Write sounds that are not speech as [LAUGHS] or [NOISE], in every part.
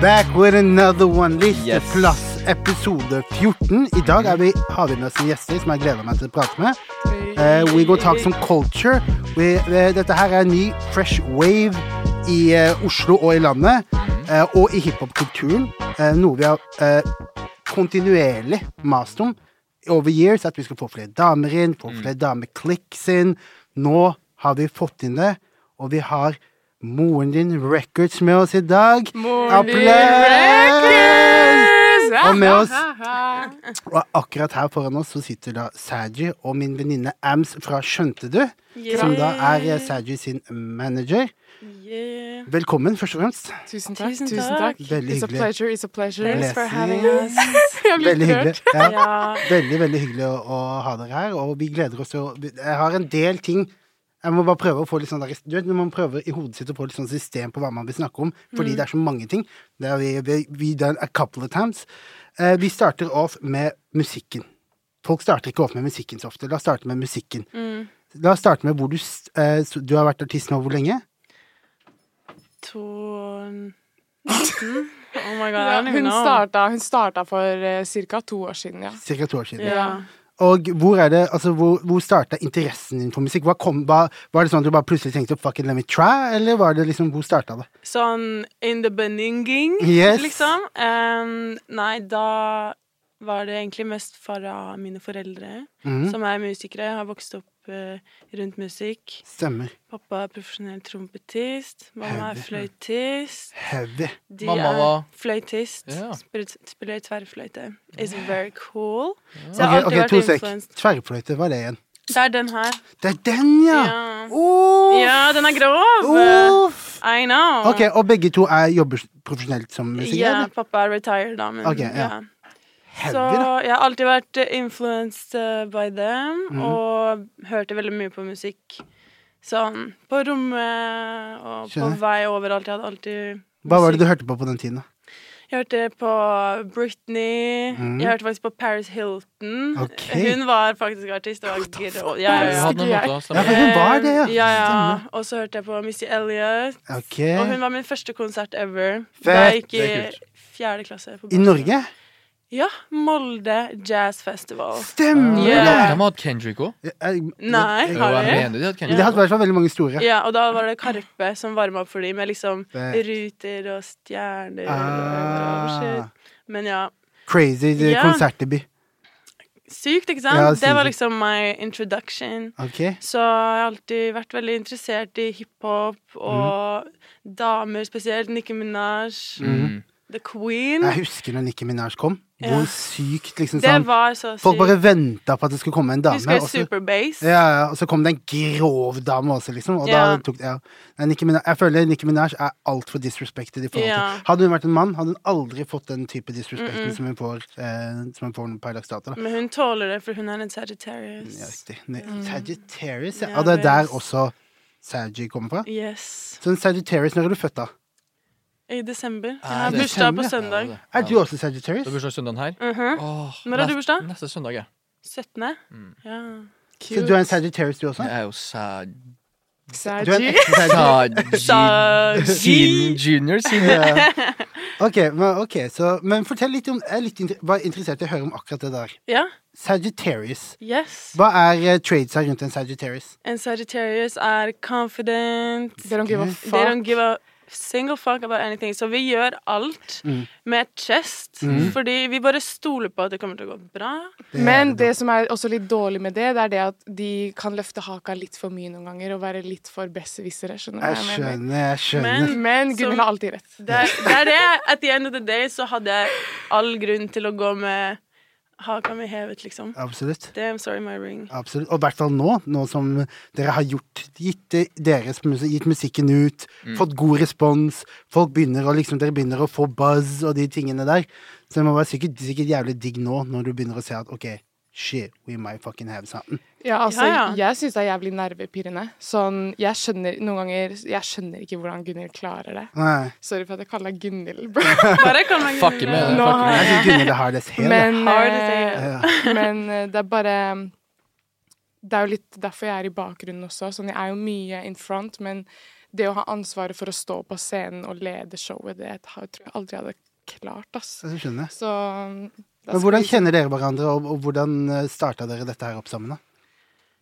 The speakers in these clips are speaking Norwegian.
back with another one listeplass Yes. episode 14. I dag er vi, har vi med oss en gjester som jeg gleder meg til å prate med. Eh, we go talk some culture. We, eh, dette her er en ny fresh wave i eh, Oslo og i landet. eh, og i hiphop-kulturen. eh, noe vi har eh, kontinuerlig mast om over years. At vi skal få flere damer inn, Mm. få flere dameklikks inn. Nå har vi fått inn det, og vi har Moren din Records med oss i dag. Moren din Og med oss Og akkurat her foran oss så sitter da Saji og min venninne Ams fra Skjønte du? Som da er eh, Saji sin manager. Yeah. Velkommen, først og fremst. Tusen takk. Tusen Tusen takk. takk. Veldig it's a hyggelig. pleasure, it's a pleasure. Thanks for having us. [LAUGHS] Jeg blir Veldig rørt. hyggelig. Ja. Ja. Veldig, veldig hyggelig å, å ha dere her, og vi gleder oss til å Jeg har en del ting jeg må bare prøve å få litt sånn der, du vet, Når man prøver i hodet sitt å få litt sånn system på hva man vil snakke om, fordi det er så mange ting Det har vi, vi, vi done a couple of times. Eh, vi starter off med musikken. Folk starter ikke off med musikken så ofte. La oss starte med musikken. La oss starte med hvor du s- eh, s- Du har vært artist nå hvor lenge? To Oh my god, I don't even Hun know. starta, hun starta for uh, ca. to år siden, ja. Cirka to år siden. Ja. Og hvor er det, altså hvor, hvor starta interessen din for musikk? Hva kom, hva, var det sånn at du bare plutselig tenkte 'fuck it, let me try', eller var det liksom, hvor starta det? Sånn in the beninging, Yes. liksom. Em, nei, da var det egentlig mest fra mine foreldre, Mhm. som er musikere. Har vokst opp eh, rundt musikk. Stemmer. Pappa er profesjonell trompetist. Mamma er fløytist. Heavy. De Mamma er var- fløytist. Ja. Spiller, spiller tverrfløyte. It's very cool. Så jeg har Ok, alltid ok, to vært sek. influenced. Tverrfløyte, hva er det igjen? Det er den her. Det er den, ja! Ja. Uff, Ja, den er grov! uff. I know. Ok, og begge to er, jobber profesjonelt som musikere? Ja, eller? pappa er retired, da, men Ok, ja. Så Heavy, da. jeg har alltid vært eh, influenced eh, by them, Mhm. og hørte veldig mye på musikk. Sånn på rommet og Skjønner. på vei overalt. Jeg hadde alltid Hva var det du hørte på på den tiden? da? Jeg hørte på Britney. Jeg hørte faktisk på Paris Hilton. Mhm. Ok. Hun var faktisk artist. Og var grå. Ja, Hun ja, ja. hadde noen jeg- låter, Ja, stemmer. for hun var det, ja. Ja, ja. Stemmer. Og så hørte jeg på Missy Elliot. Ok. Og hun var min første konsert ever. Fett. Da jeg gikk i Det er kult. fjerde klasse. På I Blomster. Norge? Ja. Molde Jazz Festival. Stemmer Ja. De har hatt Kendrick òg. det! Jeg- Nei, Jo, har jeg de? mener de hadde Det Kendrick. hadde i hvert fall veldig mange store. Ja, og da var det Karpe som varma opp for dem, med liksom Fett. ruter og stjerner og Ah. shit. Men ja. Crazy det- Ja. konsertdebut. Sykt, ikke sant? Ja, det var sykt. liksom my introduction. Ok. Så jeg har alltid vært veldig interessert i Mm. hiphop og damer spesielt. Nicki Minaj, Mm. The Queen. Jeg husker når Nicki Minaj kom. Mm. Ja. Hvor sykt, liksom Det sånn. var så sykt. Folk bare venta på at det skulle komme en dame. Husker jeg og så- Superbase? Ja, ja, og så kom det en grov dame også, liksom. Og da Ja. tok ja. Nei, Nicki Minaj, jeg føler Nicki Minaj er altfor disrespected i forhold til Ja. Hadde hun vært en mann, hadde hun aldri fått den type disrespekten som hun får eh, Som hun får per dags dato. Da. Men hun tåler det, for hun er en Sagittarius. Ja, Yes. riktig. Nei, Sagittarius, ja. Mm. Ja, Og det er der vel. også Sagi kommer fra. Så en Sagittarius, når er du født, da? I desember. Jeg Er har det bursdag på desember? søndag. Ja, det Er du også Sagittarius? Det er bursdag søndagen her. Mhm. Åh, Når har du nest- bursdag? Neste søndag, ja. 17. Mm. Ja. Så du er en Sagittarius, du også? Jeg er jo sad... Du er en Saji. ekte Sagittarius. Sajin junior, siden Ja. Ok, men, ok, så, men fortell litt om Jeg er litt inter var interessert i å høre om akkurat det der. ja. Sagittarius. Yes. Hva er eh, tradesa rundt en Sagittarius? En Sagittarius er confident. They don't give a They don't fuck. give a single fuck about anything. Så vi gjør alt Mm. med chest, fordi vi bare stoler på at det kommer til å gå bra. Det er Men det det som er også litt dårlig med det, det er det at de kan løfte haka litt for mye noen ganger og være litt for besserwissere. Skjønner du Jeg hva jeg mener? skjønner, jeg skjønner. Men Men Som- Gunhild har alltid rett. det er, det er det. At the end of the day så hadde jeg all grunn til å gå med haka mi hevet, liksom. Absolutt. Damn, sorry, [LAUGHS] my ring. Absolutt. Og i hvert fall nå, nå som dere har gjort, gitt, det- deres, musi- gitt musikken ut, fått god respons, folk begynner å, liksom, dere begynner å få buzz og de tingene der. Så det må være sikkert, sikkert jævlig digg nå, når du begynner å se at ok, shit, we might fucking have something. Ja, altså, Ja, ja. Jeg syns det er jævlig nervepirrende. Sånn, jeg skjønner noen ganger Jeg skjønner ikke hvordan Gunhild klarer det. Nei. Sorry for at jeg kaller deg Gunhild, bro. Bare kom deg Fuck med det. Nå fuck har med Jeg det. synes Gunhild har det hele. Men, Hard as eh, hell. Ja. men eh, det er bare Det er jo litt derfor jeg er i bakgrunnen også. Sånn, jeg er jo mye in front, men det å ha ansvaret for å stå på scenen og lede showet, det har- tror jeg aldri jeg hadde klart, ass. Jeg skjønner. Så um, da Men skal hvordan vi- kjenner dere hverandre, og, og hvordan starta dere dette her opp sammen? da?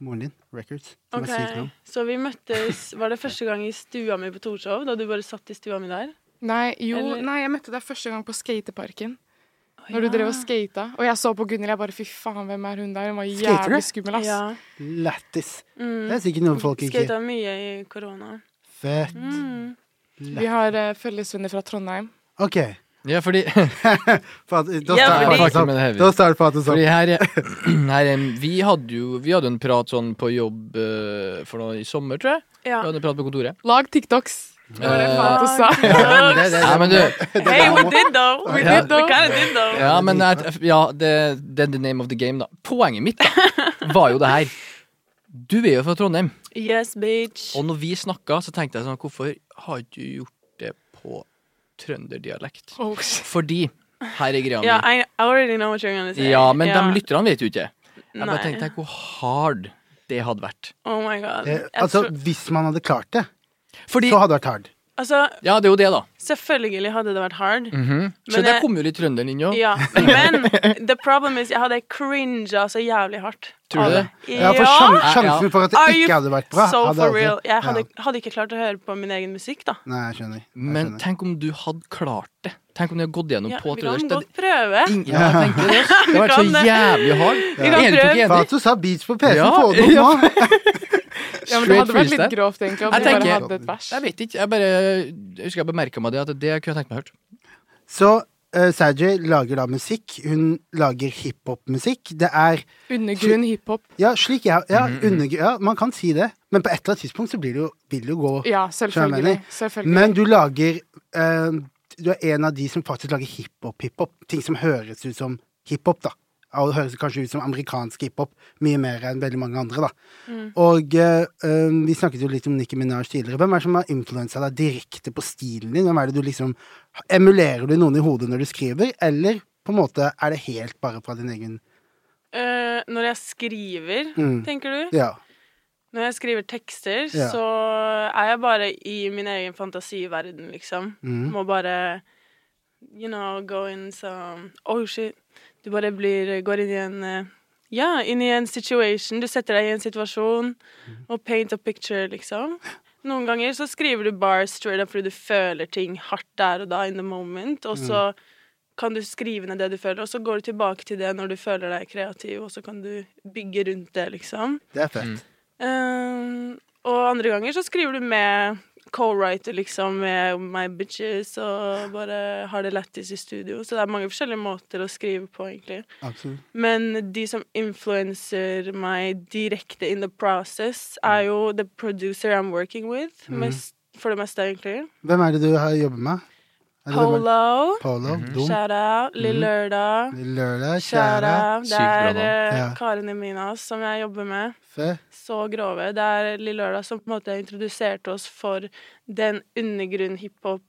Moren din, Records. som er Ok, syk nå. Så vi møttes Var det første gang i stua mi på Torshov? Da du bare satt i stua mi der? Nei, jo, Eller- nei, jeg møtte deg første gang på skateparken. Å, Når du ja. drev og skata. Og jeg så på Gunhild, jeg bare fy faen, hvem er hun der? Hun var Skater du? jævlig skummel, ass. Ja. Lættis. Det Mm. er sikkert noen folk ikke Skata mye i korona. Fett. Mm. Vi har eh, fellesvenner fra Trondheim. OK. Ja, fordi, Faen, Da Ja, starter fordi- praten Fuck, men det er sånn. vi. Da starter praten sånn. fordi her, er- [CLEARS THROAT] her er- vi, hadde jo, vi hadde jo en prat sånn på jobb eh, for noe i sommer, tror jeg. Ja. Vi hadde en prat på kontoret. Lag TikToks! Det var det Eh, faen du sa. [LAUGHS] Ja, men det- det- Nei, Eh, men du, Hey, we did though! We Ja. did though! We kinda did though. [LAUGHS] Ja, men jeg- ja, det, det er the name of the game, da. Poenget mitt da, var jo det her. Du er jo fra Trondheim, Yes, bitch. og når vi snakka, så tenkte jeg sånn Hvorfor har ikke du gjort det på trønderdialekt? Oh, shit. Fordi Her er greia Ja, mi. I, I already know what you're gonna say. Ja, men Ja. de lytterne vet jo ikke. Jeg bare Nei. tenkte hvor hard det hadde vært. Oh my god. Eh, Jeg Altså, tror, hvis man hadde klart det, Fordi så hadde det vært hard. altså, Ja, det er jo det, da. selvfølgelig hadde det vært hard. Mhm. Så der Men jeg- kom jo litt trønderen inn òg. Ja, men the problem is jeg hadde cringa så jævlig hardt. Tror du av det? Ja, for sjan- Ja. sjansen for at det Are you ikke hadde vært bra so hadde for aldri- real. Jeg hadde, Ja. hadde ikke klart å høre på min egen musikk, da. Nei, jeg skjønner. Jeg Men skjønner. tenk om du hadde klart det. Tenk om du hadde gått gjennom Ja, på vi kan trøndersk. Det- godt prøve. Ingen, ja, jeg [LAUGHS] tenkte det. ass. Det har vært kan så det. jævlig hard. Vi kan Er du prøve. ikke enig? Faen, du sa beats på PC, Ja, få det opp [LAUGHS] ja. nå! Ja, men det hadde vært litt freestyle. grovt, egentlig, om Jeg du bare tenker- hadde et vers. Jeg vet ikke. Jeg bare jeg husker jeg bemerka meg det, at det kunne jeg tenkt meg hørt. Så uh, Sajay lager da musikk. Hun lager hiphop-musikk. Det er Undergrunn hiphop. Ja, slik jeg ja, undergr- ja, man kan si det. Men på et eller annet tidspunkt så blir det jo, vil det jo gå Ja, selvfølgelig. Skjønner. selvfølgelig. Men du lager eh, Du er en av de som faktisk lager hiphop-hiphop. Ting som høres ut som hiphop, da. Ja, Det høres kanskje ut som amerikansk hiphop mye mer enn veldig mange andre, da. Mm. Og eh, eh, vi snakket jo litt om Nicki Minaj tidligere. Hvem er det som har influensa deg direkte på stilen din? Hvem er det du liksom Emulerer du noen i hodet når du skriver, eller på en måte er det helt bare fra din egen Eh, når jeg skriver, Mm. tenker du? Ja. Når jeg skriver tekster, Ja. så er jeg bare i min egen fantasiverden, liksom. Mm. Må bare You know, go in some Oh, shit. Du bare blir Går inn i en eh, Ja, inn i en situation. Du setter deg i en situasjon Mm. og paint a picture, liksom. Noen ganger så skriver du bars straight up fordi du føler ting hardt der og da, in the moment, og så Mm. kan du skrive ned det du føler, og så går du tilbake til det når du føler deg kreativ, og så kan du bygge rundt det, liksom. Det er fett. Um, og andre ganger så skriver du med co-writer, liksom, med my bitches, og bare har det lættis i studio. Så det er mange forskjellige måter å skrive på, egentlig. Absolutt. Men de som influenser meg direkte in the process, er jo the producer I'm working with, mest, for det meste, egentlig. Hvem Mm. er det du har jobbet med? Eller hvem er det- Mm. Polo, Polo. Dom. shout-out. Lill Lørdag, Lørdag. Kjære. shout-out. Sykt Det bra er navn. eh, Ja. Karin Eminas som jeg jobber med. Fett. så grove. Det er Lille Lørdag som på en måte introduserte oss for den undergrunn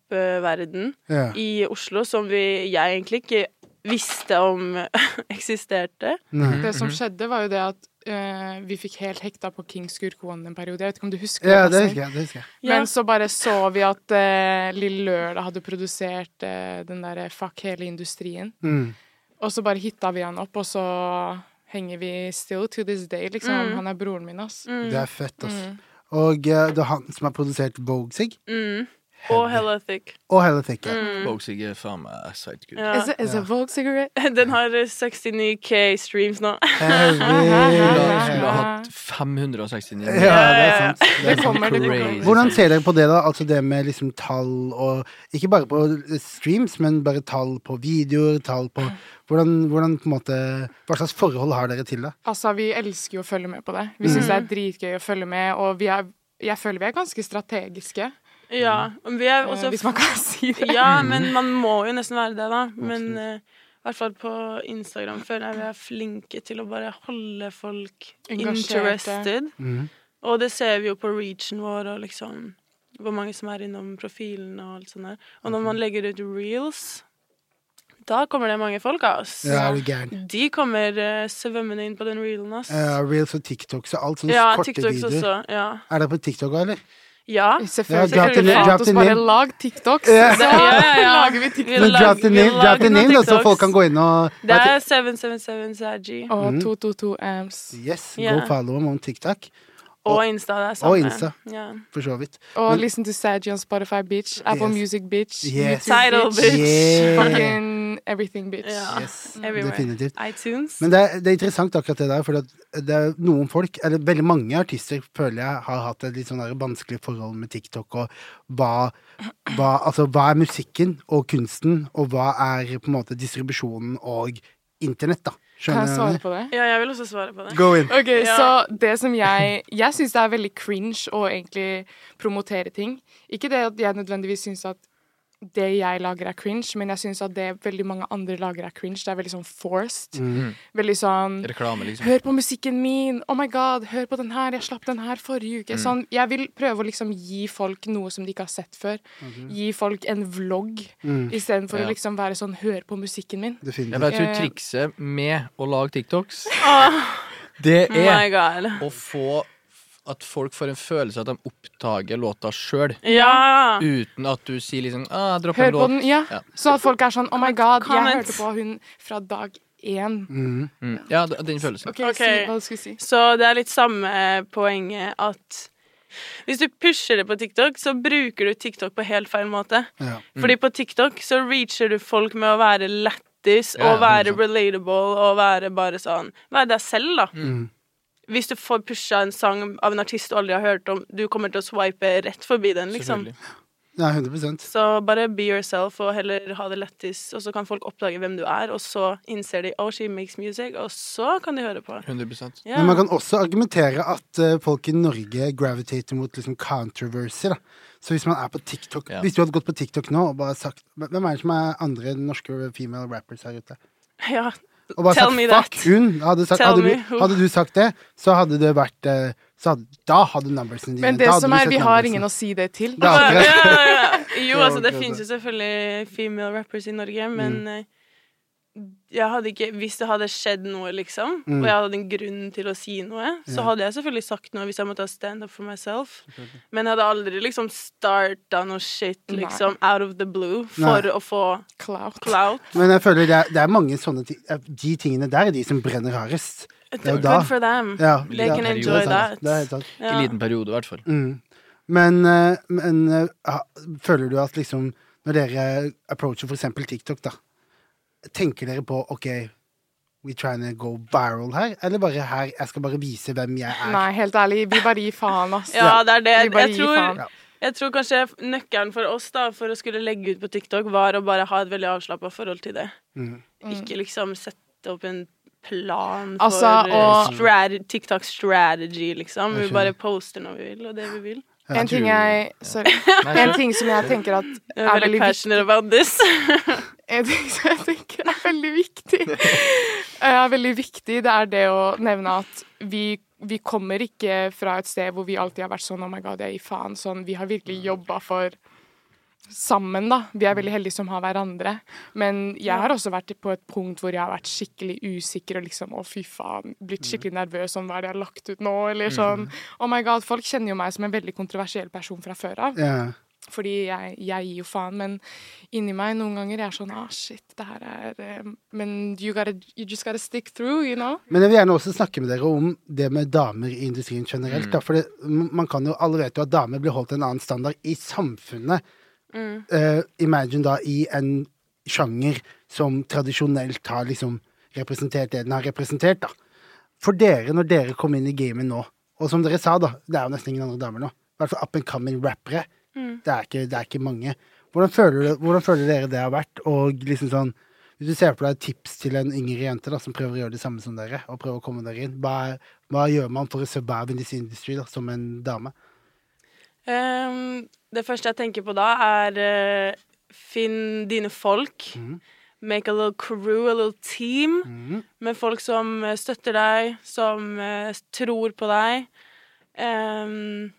hiphop-verden Ja. i Oslo som vi, jeg egentlig ikke visste om [LAUGHS] eksisterte. Nei. Det som skjedde, var jo det at eh, vi fikk helt hekta på King Skurk One en periode. Jeg vet ikke om du husker Ja, det Basseng? husker jeg. Det husker jeg. Men så bare så vi at uh, Lille Lørdag hadde produsert eh, den derre Fuck hele industrien. Mm. Og så bare hitta vi han opp, og så henger vi still to this day, liksom. Han er broren min, ass. Det er fett, ass. Og eh, det er han som har produsert Vogue Sig Mm. Og Hella Thick. og Hella Thick. ja. Mm. Vogue er faen meg sidegood. Ja. [LAUGHS] Is, it, is it Vogue cigarette? Den har 69K streams nå. [LAUGHS] Heavy. [LAUGHS] Skulle ha- skulle ha Ja, hatt 569. det er sant. Det Det er sant. kommer, det Crazy. kommer. Hvordan ser dere på det, da? Altså det med liksom tall og Ikke bare på eh, streams, men bare tall på videoer, tall på Hvordan, hvordan på en måte Hva slags forhold har dere til det? Altså, vi elsker jo å følge med på det. Mm. Vi syns det er dritgøy å følge med, og vi er jeg føler vi er ganske strategiske, Ja. men Vi er eh, også hvis man kan [LAUGHS] si det. Ja, [LAUGHS] Mhm. men man må jo nesten være det, da. Men eh, i hvert fall på Instagram føler jeg vi er flinke til å bare holde folk Engasjerte. interested. Mhm. Og det ser vi jo på reachen vår og liksom hvor mange som er innom profilen og alt sånt der. Og når Mhm. man legger ut reels, da kommer det mange folk, ass. Ja, er du gæren? De kommer eh, svømmende inn på den reelen, ass. Eh, Reels og TikToks og alt sånne ja, korte TikToks videoer. også. Ja. Er dere på TikTok òg, eller? [LAUGHS] Ja, Ja. drop the Selvfølgelig. name, Ja, drop oss the bare name. lag TikToks, Ja. [LAUGHS] så Ja, ja, ja. lager vi TikTok. Men Drop the name, drop the name da, så folk kan gå inn og Det er 777 Saji. Og Mm. 222 amps. Yes, Ja. go follow dem om TikTok, Og Insta. Det er samme. Og Insta. Ja. for så [LAUGHS] vidt. Og Men- listen to Saji on Spotify, bitch. Apple Yes. Music, bitch. Yes. Tidal, YouTube, bitch. Yeah. Fucking everything, bitch. Ja. Yes, Mm. Everywhere. [LAUGHS] definitivt. iTunes. Men det er, det er interessant akkurat det der, for det er noen folk, eller veldig mange artister, føler jeg har hatt et litt sånn der vanskelig forhold med TikTok og hva, hva Altså, hva er musikken og kunsten, og hva er på en måte distribusjonen og internett, da? Skjønner Kan du? hva jeg svare jeg på det? Ja, jeg vil også svare på det. mener? Go in. Ok, Ja. så det som jeg Jeg syns det er veldig cringe å egentlig promotere ting. Ikke det at jeg nødvendigvis syns at det jeg lager er cringe, men jeg syns at det veldig mange andre lager er cringe. Det er veldig sånn forced. Veldig sånn Reklame, liksom. Hør på musikken min! Oh my god, hør på den her! Jeg slapp den her forrige uke. Sånn, jeg vil prøve å liksom gi folk noe som de ikke har sett før. Gi folk en vlogg istedenfor Ja. å liksom være sånn Hør på musikken min. Ja, Definitivt. men jeg tror Eh. trikset med å [LAUGHS] lage TikToks, det E. My Oh er God. å få at folk får en følelse av at de oppdager låta sjøl, Ja! uten at du sier liksom ah, 'dropp Hør en på låt'. den, ja. Ja. Så at folk er sånn Oh my god, jeg Comment. hørte på hun fra dag én. Mm. Mm. Ja, d- den følelsen. OK, Ok. si hva du skulle si. Så det er litt samme eh, poenget at hvis du pusher det på TikTok, så bruker du TikTok på helt feil måte. Ja. Mm. Fordi på TikTok så reacher du folk med å være lættis Ja, og være hundre prosent. relatable og være bare sånn Være deg selv, da. Hvis du får pusha en sang av en artist du aldri har hørt om, du kommer til å swipe rett forbi den, liksom. Selvfølgelig. Nei, 100 Så bare be yourself og heller ha det lættis, og så kan folk oppdage hvem du er, og så innser de oh, she makes music, og så kan de høre på. 100 Ja. Men man kan også argumentere at eh, folk i Norge gravitater mot liksom controversy. Da. Så hvis man er på TikTok Ja. Hvis du hadde gått på TikTok nå og bare sagt Hvem er det som er andre norske female rappers her ute? ja. Og bare Tell sagt me fuck that. hun! Hadde, sagt, Tell hadde, me du, who. hadde du sagt det, så hadde det vært eh, så hadde, Da hadde numbersen dine Men det da hadde du som er, sett vi har numbersen. ingen å si det til. Da- Ja, Ja, ja, ja. Jo, Det var altså, det akkurat Mm. finnes jo det. selvfølgelig female rappers i Norge, men eh, jeg hadde ikke Hvis det hadde skjedd noe, liksom, Mm. og jeg hadde en grunn til å si noe, så hadde jeg selvfølgelig sagt noe hvis jeg måtte ha stand up for myself. Men jeg hadde aldri liksom starta noe shit Nei. liksom out of the blue Nei. for å få Clout. clout. Men jeg føler det er, det er mange sånne ting De tingene der er de som brenner hardest. Det er jo da. Good for them. Ja, They ja, can det er enjoy sant. that. Det er helt sant. I liten periode, i hvert fall. Mm. Men, eh, men eh, ha- føler du at liksom Når dere approacher for eksempel TikTok, da, tenker dere på OK, we trying to go viral her? Eller bare her, jeg skal bare vise hvem jeg er? Nei, helt ærlig, vi bare gir faen, ass. Ja, det er det. Vi bare Jeg gir faen. tror, jeg tror kanskje nøkkelen for oss da, for å skulle legge ut på TikTok, var å bare ha et veldig avslappa forhold til det. Mm. Ikke liksom sette opp en plan for Altså, eh, og- strate- TikTok strategy, liksom. Jeg Vi bare poster når vi vil, og det vi vil. En ting jeg Sorry. Nei, En så- ting som jeg tenker at Jeg er veldig viktig passionate about this. En ting som jeg tenker er veldig viktig, Eh, er veldig viktig, det er det å nevne at vi, vi kommer ikke fra et sted hvor vi alltid har vært sånn oh my god, jeg gir faen. Sånn, vi har virkelig jobba for sammen, da. Vi er veldig heldige som har hverandre. Men jeg har også vært på et punkt hvor jeg har vært skikkelig usikker og liksom å, fy faen. Blitt skikkelig nervøs om hva er det jeg har lagt ut nå, eller sånn. Oh my god, folk kjenner jo meg som en veldig kontroversiell person fra før av. Ja. Fordi jeg, jeg gir jo faen, men inni meg noen ganger jeg er sånn ah, shit, det her er eh, Men you, gotta, you just gotta stick through, you know? Men jeg vil gjerne også snakke med dere om det med damer i industrien generelt. Da, for det, m- man kan jo, alle vet jo at damer blir holdt til en annen standard i samfunnet. Mm. Eh, imagine da i en sjanger som tradisjonelt har liksom representert det den har representert. da. For dere, når dere kom inn i gamet nå, og som dere sa, da, det er jo nesten ingen andre damer nå. I hvert fall up and coming rappere. Mm. Det, er ikke, det er ikke mange. Hvordan føler, du, hvordan føler dere det har vært? Og liksom sånn Hvis du ser på deg et tips til en yngre jente da, som prøver å gjøre det samme som dere, og prøver å komme dere inn, hva, er- hva gjør man for å survive in this industry da, som en dame? Ehm, det første jeg tenker på da, er eh, finn dine folk. Make a little crew, a little team, med folk som eh, støtter deg, som eh, s- tror på deg. Ehm,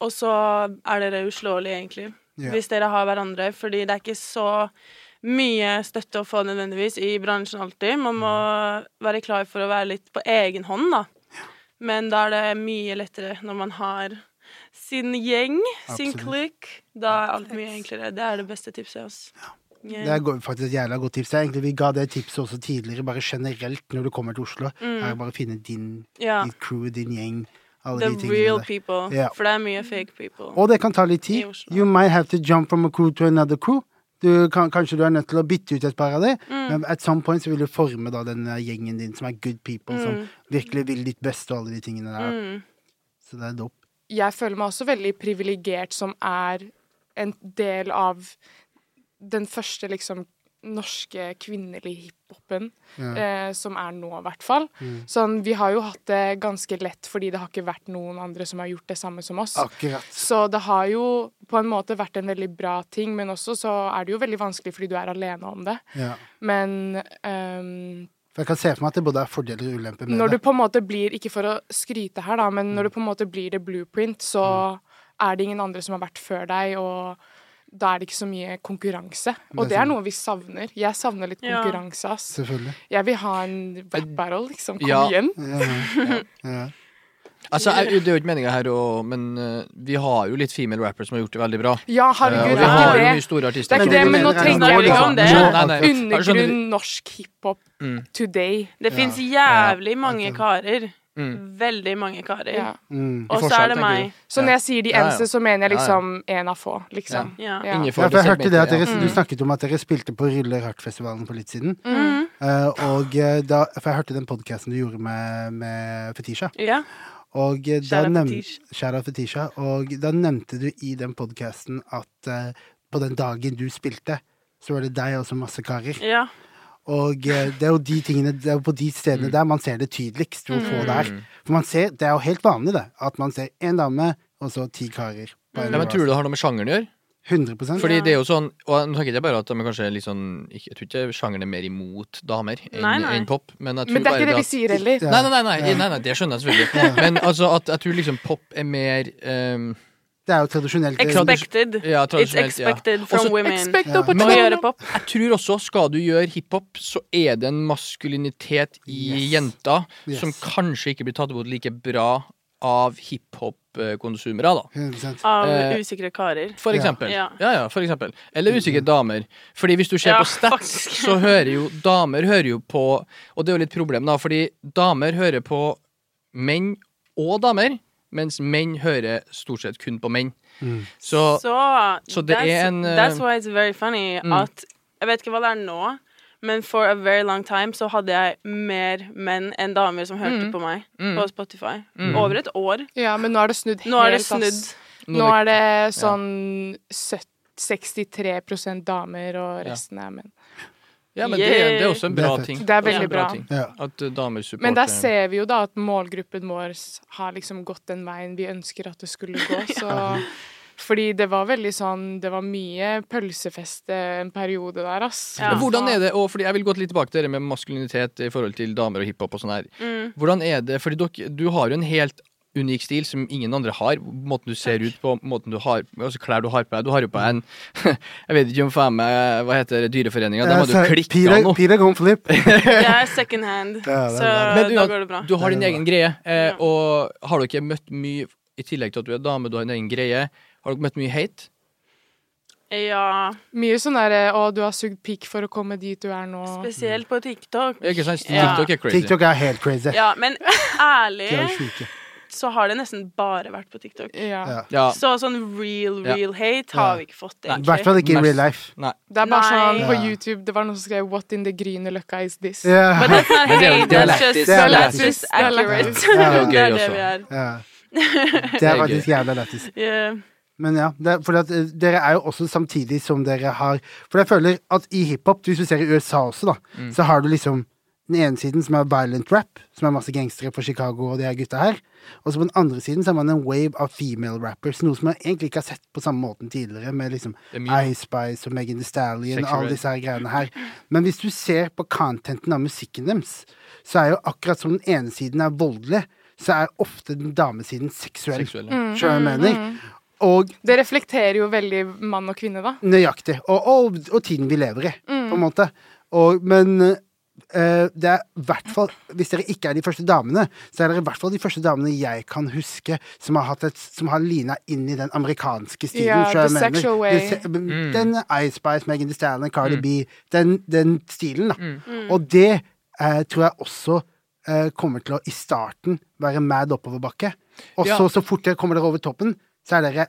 og så er dere uslåelige, egentlig, Ja. hvis dere har hverandre. Fordi det er ikke så mye støtte å få nødvendigvis i bransjen alltid. Man må være klar for å være litt på egen hånd, da. Men da er det mye lettere når man har sin gjeng, sin Absolutt. klikk. Da er alt mye enklere. Det er det beste tipset. Altså. Det er go- faktisk et jævla godt tips. Det er Egentlig, vi ga det tipset også tidligere, bare generelt når du kommer til Oslo. Er å bare finne din, Mm. Ja. ditt crew, din gjeng, alle The de tingene real der. people. Ja. For det er mye fake people. Og det kan ta litt I tid. Oslo. You might have to jump from a crew to another crew. Du kan, kanskje du er nødt til å bytte ut et par av dem, Mm. men at some point så vil du forme da den eh, gjengen din som er good people, som Mm. virkelig vil ditt beste og alle de tingene der. Mm. Så det er dope. jeg føler meg også veldig privilegert som er en del av den første liksom norske kvinnelige hiphopen, eh, som er nå, i hvert fall. Sånn, vi har jo hatt det ganske lett, fordi det har ikke vært noen andre som har gjort det samme som oss. Akkurat. Så det har jo på en måte vært en veldig bra ting, men også så er det jo veldig vanskelig fordi du er alene om det. Ja. Men ehm, For jeg kan se for meg at det både er fordeler og ulemper med når du det. på en måte blir, ikke for å skryte her da, men Mm. når du på en måte blir det blueprint, så er det ingen andre som har vært før deg, og da er det ikke så mye konkurranse. Det Og det er er sant. noe vi savner. Jeg savner litt Ja. konkurranse, ass. [LAUGHS] Selvfølgelig. Jeg vil ha en rap battle, liksom. Kom Ja. igjen. Ja. Altså, jeg, Det er jo ikke meninga her, og, men eh, vi har jo litt female rappers som har gjort det veldig bra. Eh, Ja, og herregud, vi det har jo er mye ikke det. store Det artister. er ikke det, men nå trenger Snakker jeg vi ikke liksom om det? Nei, nei. undergrunn norsk hiphop Mm. today. Det fins jævlig mange karer. Mm. Veldig mange karer. Ja. Mm. Og så forskjell, er det tenker meg. Så når jeg sier de Ja, ja. eneste, så mener jeg Ja, ja. liksom en av få, liksom. Ja. Ja. Innenfor Ja, for jeg det hørte det at dere, segmentet, Du snakket om at dere spilte på Ruller Hardt-festivalen for litt siden. Mm. Mm. Eh, og eh, da, For jeg hørte den podkasten du gjorde med, med Fetisha. Ja. Og eh, da, Shout out nevn, Fetisha. shout out Fetisha, og da nevnte du i den podkasten at eh, på den dagen du spilte, så var det deg og så masse karer. ja. Og eh, det er jo de tingene Det er jo på de stedene Mm. der man ser det tydeligst hvor få det er. For man ser, det er jo helt vanlig, det, at man ser én dame og så ti karer. på en Mm. Ja, men rad. Tror du det har noe med sjangeren å gjøre? 100 Fordi det er jo sånn, og Nå tenker jeg bare at de er kanskje litt sånn ikke- Jeg tror ikke sjangeren er mer imot damer enn Nei, nei. enn pop. Men, jeg tror Men det er bare ikke det vi at- sier heller. Nei, nei, nei, nei, nei, nei, det skjønner jeg selvfølgelig. Men altså at jeg tror liksom pop er mer ehm, Det er jo tradisjonelt eh, Expected. ja, It's tradisjonelt. sånn ja. expected Også- from women. Expect Ja. Må opportunity. gjøre pop. Jeg tror også, skal du gjøre hiphop, så er det en maskulinitet i Yes. jenta Yes. som kanskje ikke blir tatt imot like bra av hiphop-konsumere, da. 100 Av Eh, usikre karer. For Ja. Mm. eksempel. Ja. Ja. Ja, for eksempel. Eller usikre damer. Fordi hvis du ser Ja, på stats, [LAUGHS] faktisk. så hører jo damer hører jo på Og det er jo litt problem, da, fordi damer hører på menn og damer, mens menn hører stort sett kun på menn. Mm. Så, Så, så det that's, er en, eh, mm. That's why it's very funny at Jeg vet ikke hva det er nå, men for a very long time så hadde jeg mer menn enn damer som hørte Mm. på meg på Spotify. Over et år. Ja, men nå er det snudd Nå er det helt, ass. snudd. Nå er det sånn 70 63 damer, og resten er menn. ja, men det, er- det er også en Det er bra fett. ting. Det er også veldig en bra. ting. Ja. At eh, damer supporter Men der ser vi jo da at målgruppen vår s- har liksom gått den veien vi ønsker at det skulle [LAUGHS] gå, så Fordi det var veldig sånn Det var mye pølsefest eh, en periode der, ass. Ja. Men Hvordan altså er det, og fordi Jeg vil gå litt tilbake til det med maskulinitet i forhold til damer og hiphop. og sånn her. Mm. Hvordan er det, fordi dere, Du har jo en helt unik stil som ingen andre har. Måten du ser ut på, måten du har, altså klær du har på deg. Du har jo på deg en [LAUGHS] Jeg vet ikke om faen meg Hva heter det, Dyreforeninga? De hadde jo klikka Eh, Peter, noe. Peter Gonflip. Det er second hand, Ja, [LAUGHS] det er så bra. Men da uansett, går det bra. Du har din egen greie. Eh, Ja. og har dere møtt mye, i tillegg til at du er dame, du har din egen greie, har dere møtt mye hate? Ja, Mye sånn derre Å, du har sugd pikk for å komme dit du er nå. spesielt på TikTok. Ikke sant? Ja. TikTok er crazy. TikTok er helt crazy. Ja, [LAUGHS] men De er jo ærlig sjuke. så har det nesten bare vært på TikTok. Ja. Ja. Ja. Så sånn real, Ja. real hate har vi ikke fått, I hvert egentlig. fall ikke i real life. Nei. Det er bare Nei. sånn på Ja. YouTube Det var noen som skrev 'What in the grünerløkka is this?' But Ja. that's not Men det er jo hate, that's dialektisk. just, Det er that's dialektisk. just accurate. er Det jo gøy Det er også. det vi er. Ja. Det er gøy. faktisk jævla lættis. Yeah. Men ja, det er, fordi at eh, dere er jo også samtidig som dere har For jeg føler at i hiphop, hvis du ser i USA også, da, Mm. så har du liksom den ene siden som er violent rap, som er masse gangstere fra Chicago og de her gutta her. Og så på den andre siden så har man en wave av female rappers, noe som jeg egentlig ikke har sett på samme måten tidligere, med liksom Det er mye. Ice Spice og Megan Thee Stallion og Sexy Red. alle disse her greiene her. Men hvis du ser på contenten av musikken deres, så er jo akkurat som den ene siden er voldelig, så er ofte den damesiden seksuell. Seksuell, Mm. ja. Mm, Skjønner du hva jeg mener? Og Det reflekterer jo veldig mann og kvinne, da. Mm. Nøyaktig. Og, og, og tiden vi lever i, på en måte. Og, men eh, eh, det er i hvert fall Hvis dere ikke er de første damene, så er dere i hvert fall de første damene jeg kan huske som har, hatt et, som har lina inn i den amerikanske stilen. Ja, tror jeg the mener. sexual way. The se- Mm. Den Ice Spice, Megan Thee Stallion, Cardi B. Den, den stilen, da. Mm. Mm. Og det eh, tror jeg også eh, kommer til å i starten være mad oppoverbakke. Og Ja. så, så fort dere kommer dere over toppen, så er dere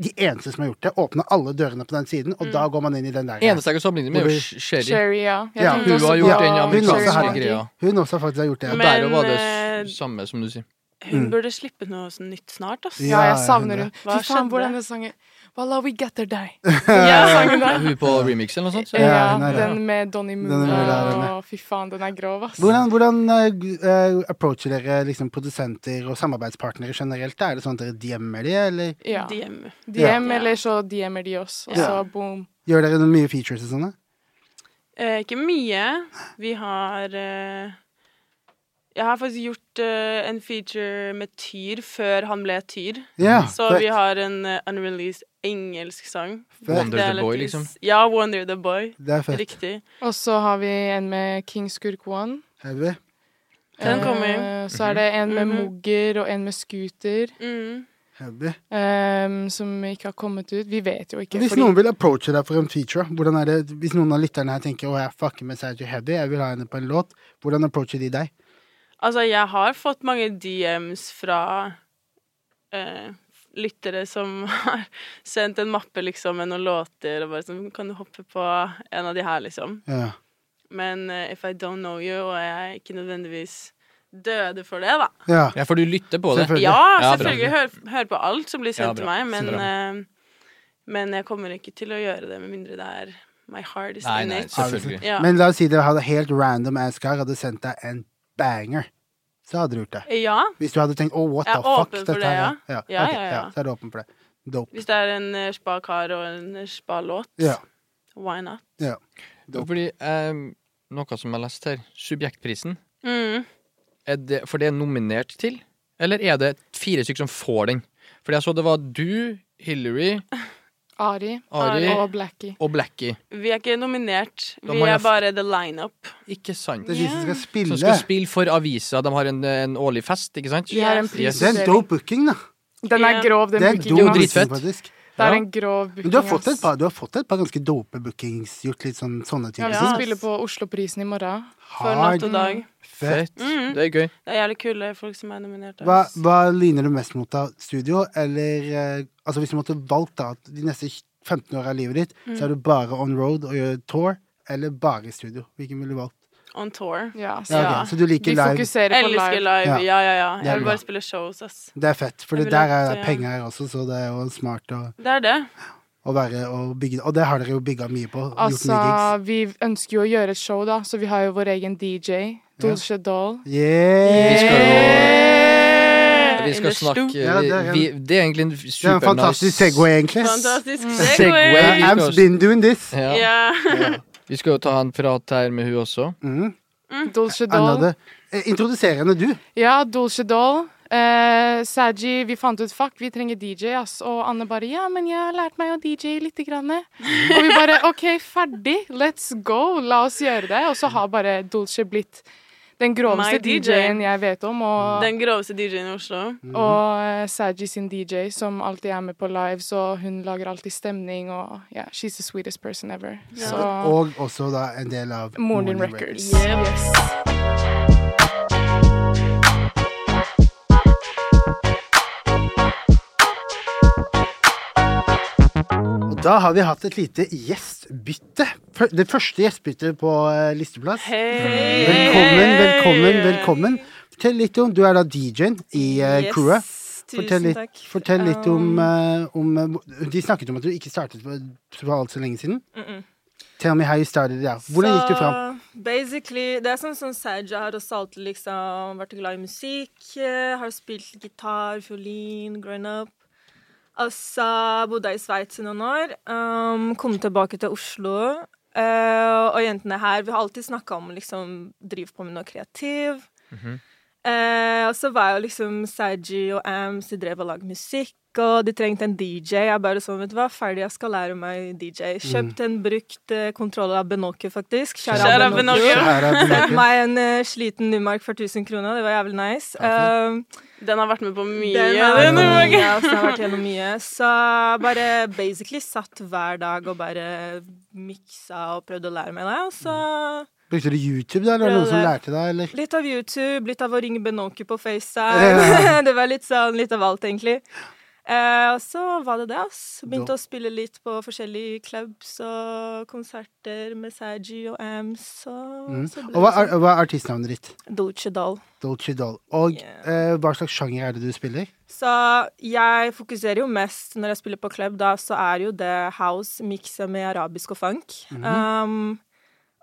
de eneste som har gjort det. Åpner alle dørene på den siden, Mm. og da går man inn i den der. Eneste jeg kan sammenligne med, er jo Sh- Sherry. Sherry, ja. Jeg Ja, tenkte Hun også har på gjort den Sherry Hun også amerikanske har- Monkey. greia. Hun også har faktisk har gjort det. Ja. Og Men, der var det eh, s- samme, som du sier. Mm. Hun burde slippe noe sånn nytt snart, ass. Ja, jeg savner Ja, hun. Hva Fy faen, skjedde? hvordan den sangen Walla, we get there, die. Ja. [LAUGHS] Sangen der. Hun på remix eller noe sånt? så- Ja, Ja, den er det. den med Donny er Moore. vel der, den og Fy faen, den er grov, ass. Hvordan, hvordan eh, g- eh, approacher dere liksom, produsenter og samarbeidspartnere generelt? Er det sånn at dere DM-er de, eller Ja. DM. DM, Ja. eller så DM-er de oss, og Ja. så boom. gjør dere noen mye features og sånne? Eh, ikke mye. Vi har eh, Jeg har faktisk gjort eh, en feature med Tyr før han ble Tyr. Ja, Så fett, vi har en eh, unreleased engelsk sang. fett. Wonder Det er the Boy, litt- liksom. Ja, Wonder the Boy. Det er fett. Riktig. Og så har vi en med King Skurk One. Heavy. Den kommer. Eh, Så er det en med Mhm. Mogger og en med Scooter, Mm. Heavy. eh, som ikke har kommet ut. Vi vet jo ikke. Hvis fordi- noen vil approache deg for en feature, hvordan er det, hvis noen av lytterne her tenker å, jeg fucker med Sergio Heavy, jeg vil ha henne på en låt, hvordan approacher de deg? Altså, jeg har fått mange DMs fra eh, lyttere som [LAUGHS] har sendt en mappe liksom, med noen låter og bare sånn Kan du hoppe på en av de her, liksom? Ja. Men eh, if I don't know you, og jeg er ikke nødvendigvis døde for det, da. ja. Ja, for du lytter på det. Selvfølgelig. Ja, Ja, bra. selvfølgelig. Hør, hør på alt som blir Ja, sendt til bra. meg, men, Bra. eh, men jeg kommer ikke til å gjøre det med mindre det er My heart is Nei, in nei, it. selvfølgelig. Ja. Men la oss si dere hadde helt random Askar hadde sendt deg en banger. Så hadde du gjort det. ja, Hvis du hadde tenkt 'oh, what Jeg the er fuck'. åpen for dette det, her er- ja. Ja, Ja, ok, ja, ja. Så er du åpen for det. Dope. hvis det er en eh, spa-kar og en spa-låt, Ja. why not? Dope. Fordi eh, noe som jeg har lest her, Subjektprisen, Mm. er det, for det er nominert til? Eller er det fire stykker som får den? Fordi jeg så det var du, Hillary, Ari Ari og Blackie. og Blackie. Vi er ikke nominert. Da Vi må jeg er f- bare the lineup. Ikke sant? Det er de som skal Som spille. skal spille for avisa. De har en, en årlig fest, ikke sant? Vi har en Yes. Det er en prisutdeling. dope booking, da. Den er Ja. grov, den Det er en bookingen. Jo, dope ass. dritfett. booking, faktisk. Det er Ja. en grov booking. Men du har fått ass. et par, du har fått et par ganske dope bookings, gjort litt sånn, sånne Ja, ting. vi Ja, skal ass. spille på Osloprisen i morgen. For natt og dag. Fett. Fett. Mm. Det er gøy. Det er jævlig kule folk som er nominert. Hva, ass. hva liner du mest mot av studio, eller eh, altså hvis du måtte valgt da, at de neste 15 åra av livet ditt, så er du bare on road og gjør tour, eller bare i studio? Hvilken ville du valgt? On tour. Ja, så Ja, ok, Ja. Så du liker vi live? fokuserer på Elsker live. live. Ja, ja, ja. Det er Jeg vil bra. bare spille shows, ass. Det er fett, for Jeg det ville der er valgt, det ja. penger her også, så det er jo smart å, Det er det. å være og bygge Og det har dere jo bygga mye på. gjort Altså, mye gigs. vi ønsker jo å gjøre et show, da, så vi har jo vår egen DJ. Dolce Doll. Yeah. Vi skal Yeah! Vi In the skal stu- snakke Ja, det er en- vi, Det er egentlig en Det er en supernice fantastisk Segway, egentlig. Fantastisk Mm. Segway. segway. vi skal I've også- been doing this. Ja. Ja. Vi skal jo ta en prat her med hun også. Mm. Dolce Doll. Another. Eh, Introduserende du. Ja, Dolce Doll. Eh, Saji, vi fant ut fuck, vi trenger DJ, ass. Og Anne bare ja, men jeg har lært meg å DJ lite grann. Og vi [LAUGHS] bare OK, ferdig. Let's go. La oss gjøre det. Og så har bare Dolce blitt den My groveste DJ. DJ-en jeg vet om. Og Den groveste DJ-en i Oslo. Mhm. Og eh, Saji sin DJ, som alltid er med på lives, og hun lager alltid stemning, og ja, she's the sweetest person ever. Så Og også da en del av Moren din Records. Yeah. Yes. Og da har vi hatt et lite gjestbytte. Fø- Det første gjestbyttet på eh, listeplass. Hei! Velkommen, velkommen, velkommen. Fortell litt om Du er da DJ-en i eh, crewet. Fortell tusen litt, takk. fortell litt om, Um, eh, om eh, De snakket om at du ikke startet på for alt så lenge siden. mm, mm. Tell me how you started ja. Hvordan gikk du fram? Så, Basically, det er sånn som Saja har også alltid liksom vært glad i musikk. eh, Har spilt gitar, fiolin, growing up. Altså, bodde i Sveits i noen år. Um, kom tilbake til Oslo. Eh, og jentene her, vi har alltid snakka om liksom drive på med noe kreativ. Mhm. Eh, og så var jo liksom Saji og Ams, de drev og lagde musikk og de trengte en DJ. Jeg bare sånn, vet du hva, ferdig, jeg skal lære meg DJ. Kjøpt en brukt eh, kontroller av Benoke, faktisk. Kjære Mm. Shout out Benoke. Benoke. Her [LAUGHS] er Sendte Benoke. meg en eh, sliten Numark for 1000 kroner, det var jævlig nice. Ja, Um, Den har vært med på mye. den har den, vært- Norge. ja, så den har vært gjennom mye. Så bare basically satt hver dag og bare miksa og prøvde å lære meg det. Og så Brukte du YouTube, da? Eller var det noen som Prøvde. lærte deg, eller? litt av YouTube, litt av å ringe Benoki på FaceTime. [LAUGHS] det var litt sånn litt av alt, egentlig. Eh, og så var det det, ass. Begynte Da- å spille litt på forskjellige clubs og konserter med Saji og Ams og Mm. så ble Og hva det er, hva er artistnavnet ditt? sånn Dolce Doll. Dolce Doll. Og Yeah. eh, hva slags sjanger er det du spiller? Så jeg fokuserer jo mest når jeg spiller på club, da så er jo det house miksa med arabisk og funk. Mhm. um,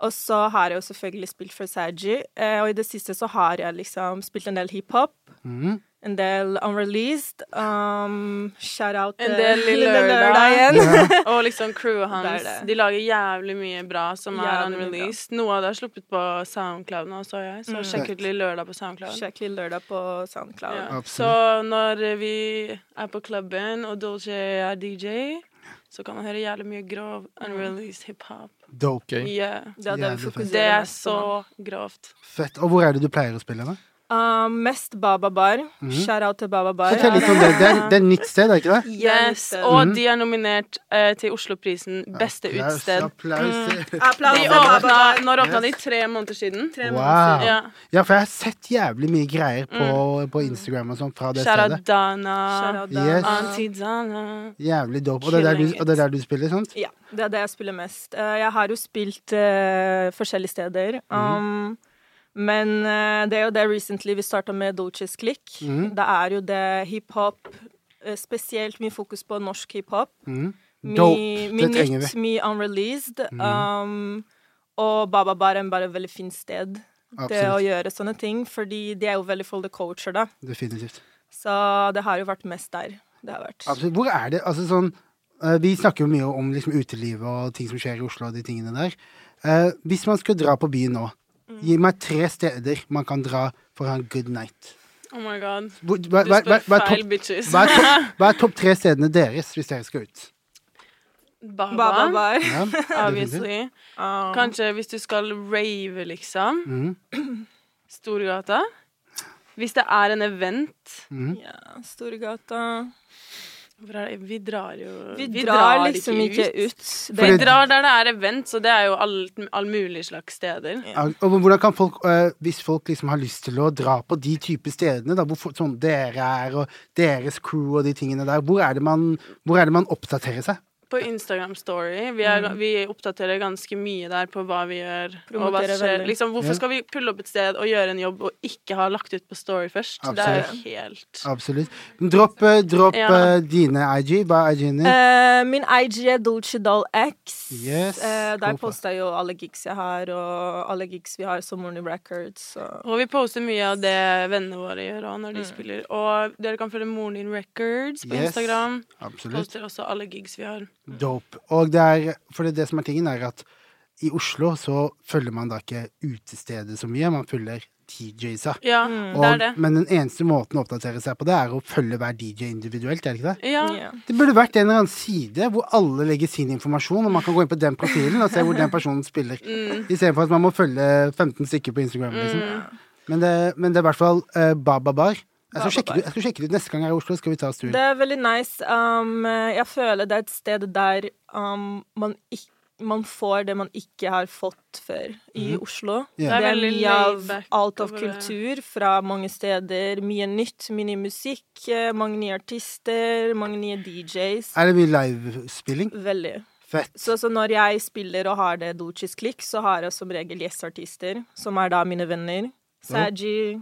og så har jeg jo selvfølgelig spilt for Saji, eh, og i det siste så har jeg liksom spilt en del hiphop. Mhm. En del unreleased. Um, shout out En eh, del [LAUGHS] Lille Lørdag. igjen. [LAUGHS] Og liksom crewet hans. Det er det. De lager jævlig mye bra som er Jævlig mye unreleased. Noe av det har sluppet på Soundcloud nå, så jeg. Mm. Så sjekk ut Lille Lørdag på Soundcloud. Sjekk Lille Lørdag på SoundCloud. Ja. Absolutt. Så når vi er på klubben, og Dolce er DJ, så kan man høre jævlig mye grov unreleased hiphop. Dope. Ok. Yeah. Det er det vi Jævlig fett. fokuserer Det er mest på nå. så grovt. Fett. Og hvor er det du pleier å spille, da? Um, mest Baba Bar. Shout out til Baba Bar. Mhm. Fortell litt om det. Det er, det er et nytt sted, er det ikke [LAUGHS] det? Yes, Og de er nominert eh, til Osloprisen Beste Applaus, utsted. applaus. Applaus De til Baba åpna, Bar. når åpna de? Tre måneder siden? Wow. Ja. Ja, for jeg har sett jævlig mye greier på, på Instagram og sånn fra det Mm. Shout stedet. out Dana. Shout out Yes. Dana. Auntie Dana. Jævlig dope. Og det er der du, Killing og det er der du spiller, sant? Ja, det er det jeg spiller mest. Eh, Jeg har jo spilt eh, forskjellige steder. Mhm. Um, Men eh, det er jo det recently vi starta med Dolces Click. Mhm. Det er jo det hiphop eh, Spesielt mye fokus på norsk hiphop. Mhm. Mye Dope. mye Det trenger nytt, vi. Mhm. mye unreleased. Um, og Baba Bar er bare et veldig fint sted til å Absolutt. gjøre sånne ting. Fordi de er jo veldig for the culture, da. Definitivt. Så det har jo vært mest der. Det har vært. Absolutt. Hvor er det Altså sånn eh, Vi snakker jo mye om liksom, utelivet og ting som skjer i Oslo og de tingene der. Eh, hvis man skulle dra på byen nå, Mm. gi meg tre steder man kan dra for å ha en good night. Oh my god. Hvor, hva, Du hva, hva, spør hva, er feil topp, bitches. hva, er [LAUGHS] topp, hva er topp tre stedene deres hvis dere skal ut? Baba Baba, Bar. Ja, definitivt. [LAUGHS] obviously. Um, Kanskje hvis du skal rave, liksom. Mhm. Storgata. Hvis det er en event Mm. ja, Storgata. Hvor er det? Vi drar jo Vi drar liksom ikke ut. Det, Vi Fordi- drar der det er event, så det er jo alt, all mulig slags steder. Ja, Og hvordan kan folk, eh, hvis folk liksom har lyst til å dra på de type stedene, da, hvor folk- sånn dere er og deres crew og de tingene der, hvor er det man, hvor er det man oppdaterer seg? På Instagram Story. Vi, er, Mm. vi oppdaterer ganske mye der på hva vi gjør. Og hva Promoterer som skjer. veldig. Liksom, Ja. hvorfor skal vi pulle opp et sted og gjøre en jobb og ikke ha lagt ut på Story først? Absolutt. Det er jo helt Absolutt. Men Dropp, eh, dropp Ja. eh, dine IG. Hva er IG-en din? Eh, min IG er Dolce Doll X. Yes, Eh, gå der for. poster jeg jo alle gigs jeg har, og alle gigs vi har som Morning Records. Og Og vi poster mye av det vennene våre gjør også Mm. når de spiller. Og dere kan følge Moren din Records på Yes. Instagram. Absolutt. Poster også alle gigs vi har. Dope. Og det er, for det, er det som er tingen, er at i Oslo så følger man da ikke utestedet så mye, man følger DJ-sa. Ja, Mm. det Og, er det. men den eneste måten å oppdatere seg på det, er å følge hver DJ individuelt, er det ikke det? Ja. ja. Det burde vært en eller annen side hvor alle legger sin informasjon, og man kan gå inn på den profilen og se hvor den personen spiller. Mm. Istedenfor at man må følge 15 stykker på Instagram. Liksom. Men, det, men det er i hvert fall eh, Baba Bar. Jeg skal, sjekke, det ut- jeg skal sjekke det ut neste gang jeg er i Oslo. Skal vi ta oss tur? Det er veldig nice. Um, jeg føler det er et sted der um, man, ikk- man får det man ikke har fått før i Oslo. Ja. Det Det er er veldig mye av laid back alt av over det. kultur fra mange steder. Mye nytt, mye ny musikk, eh, mange nye artister, mange nye DJs. Er det mye livespilling? Veldig. Fett. Så, så når jeg spiller og har det Dolces Click, så har jeg som regel gjesteartister, som er da mine venner. Saji.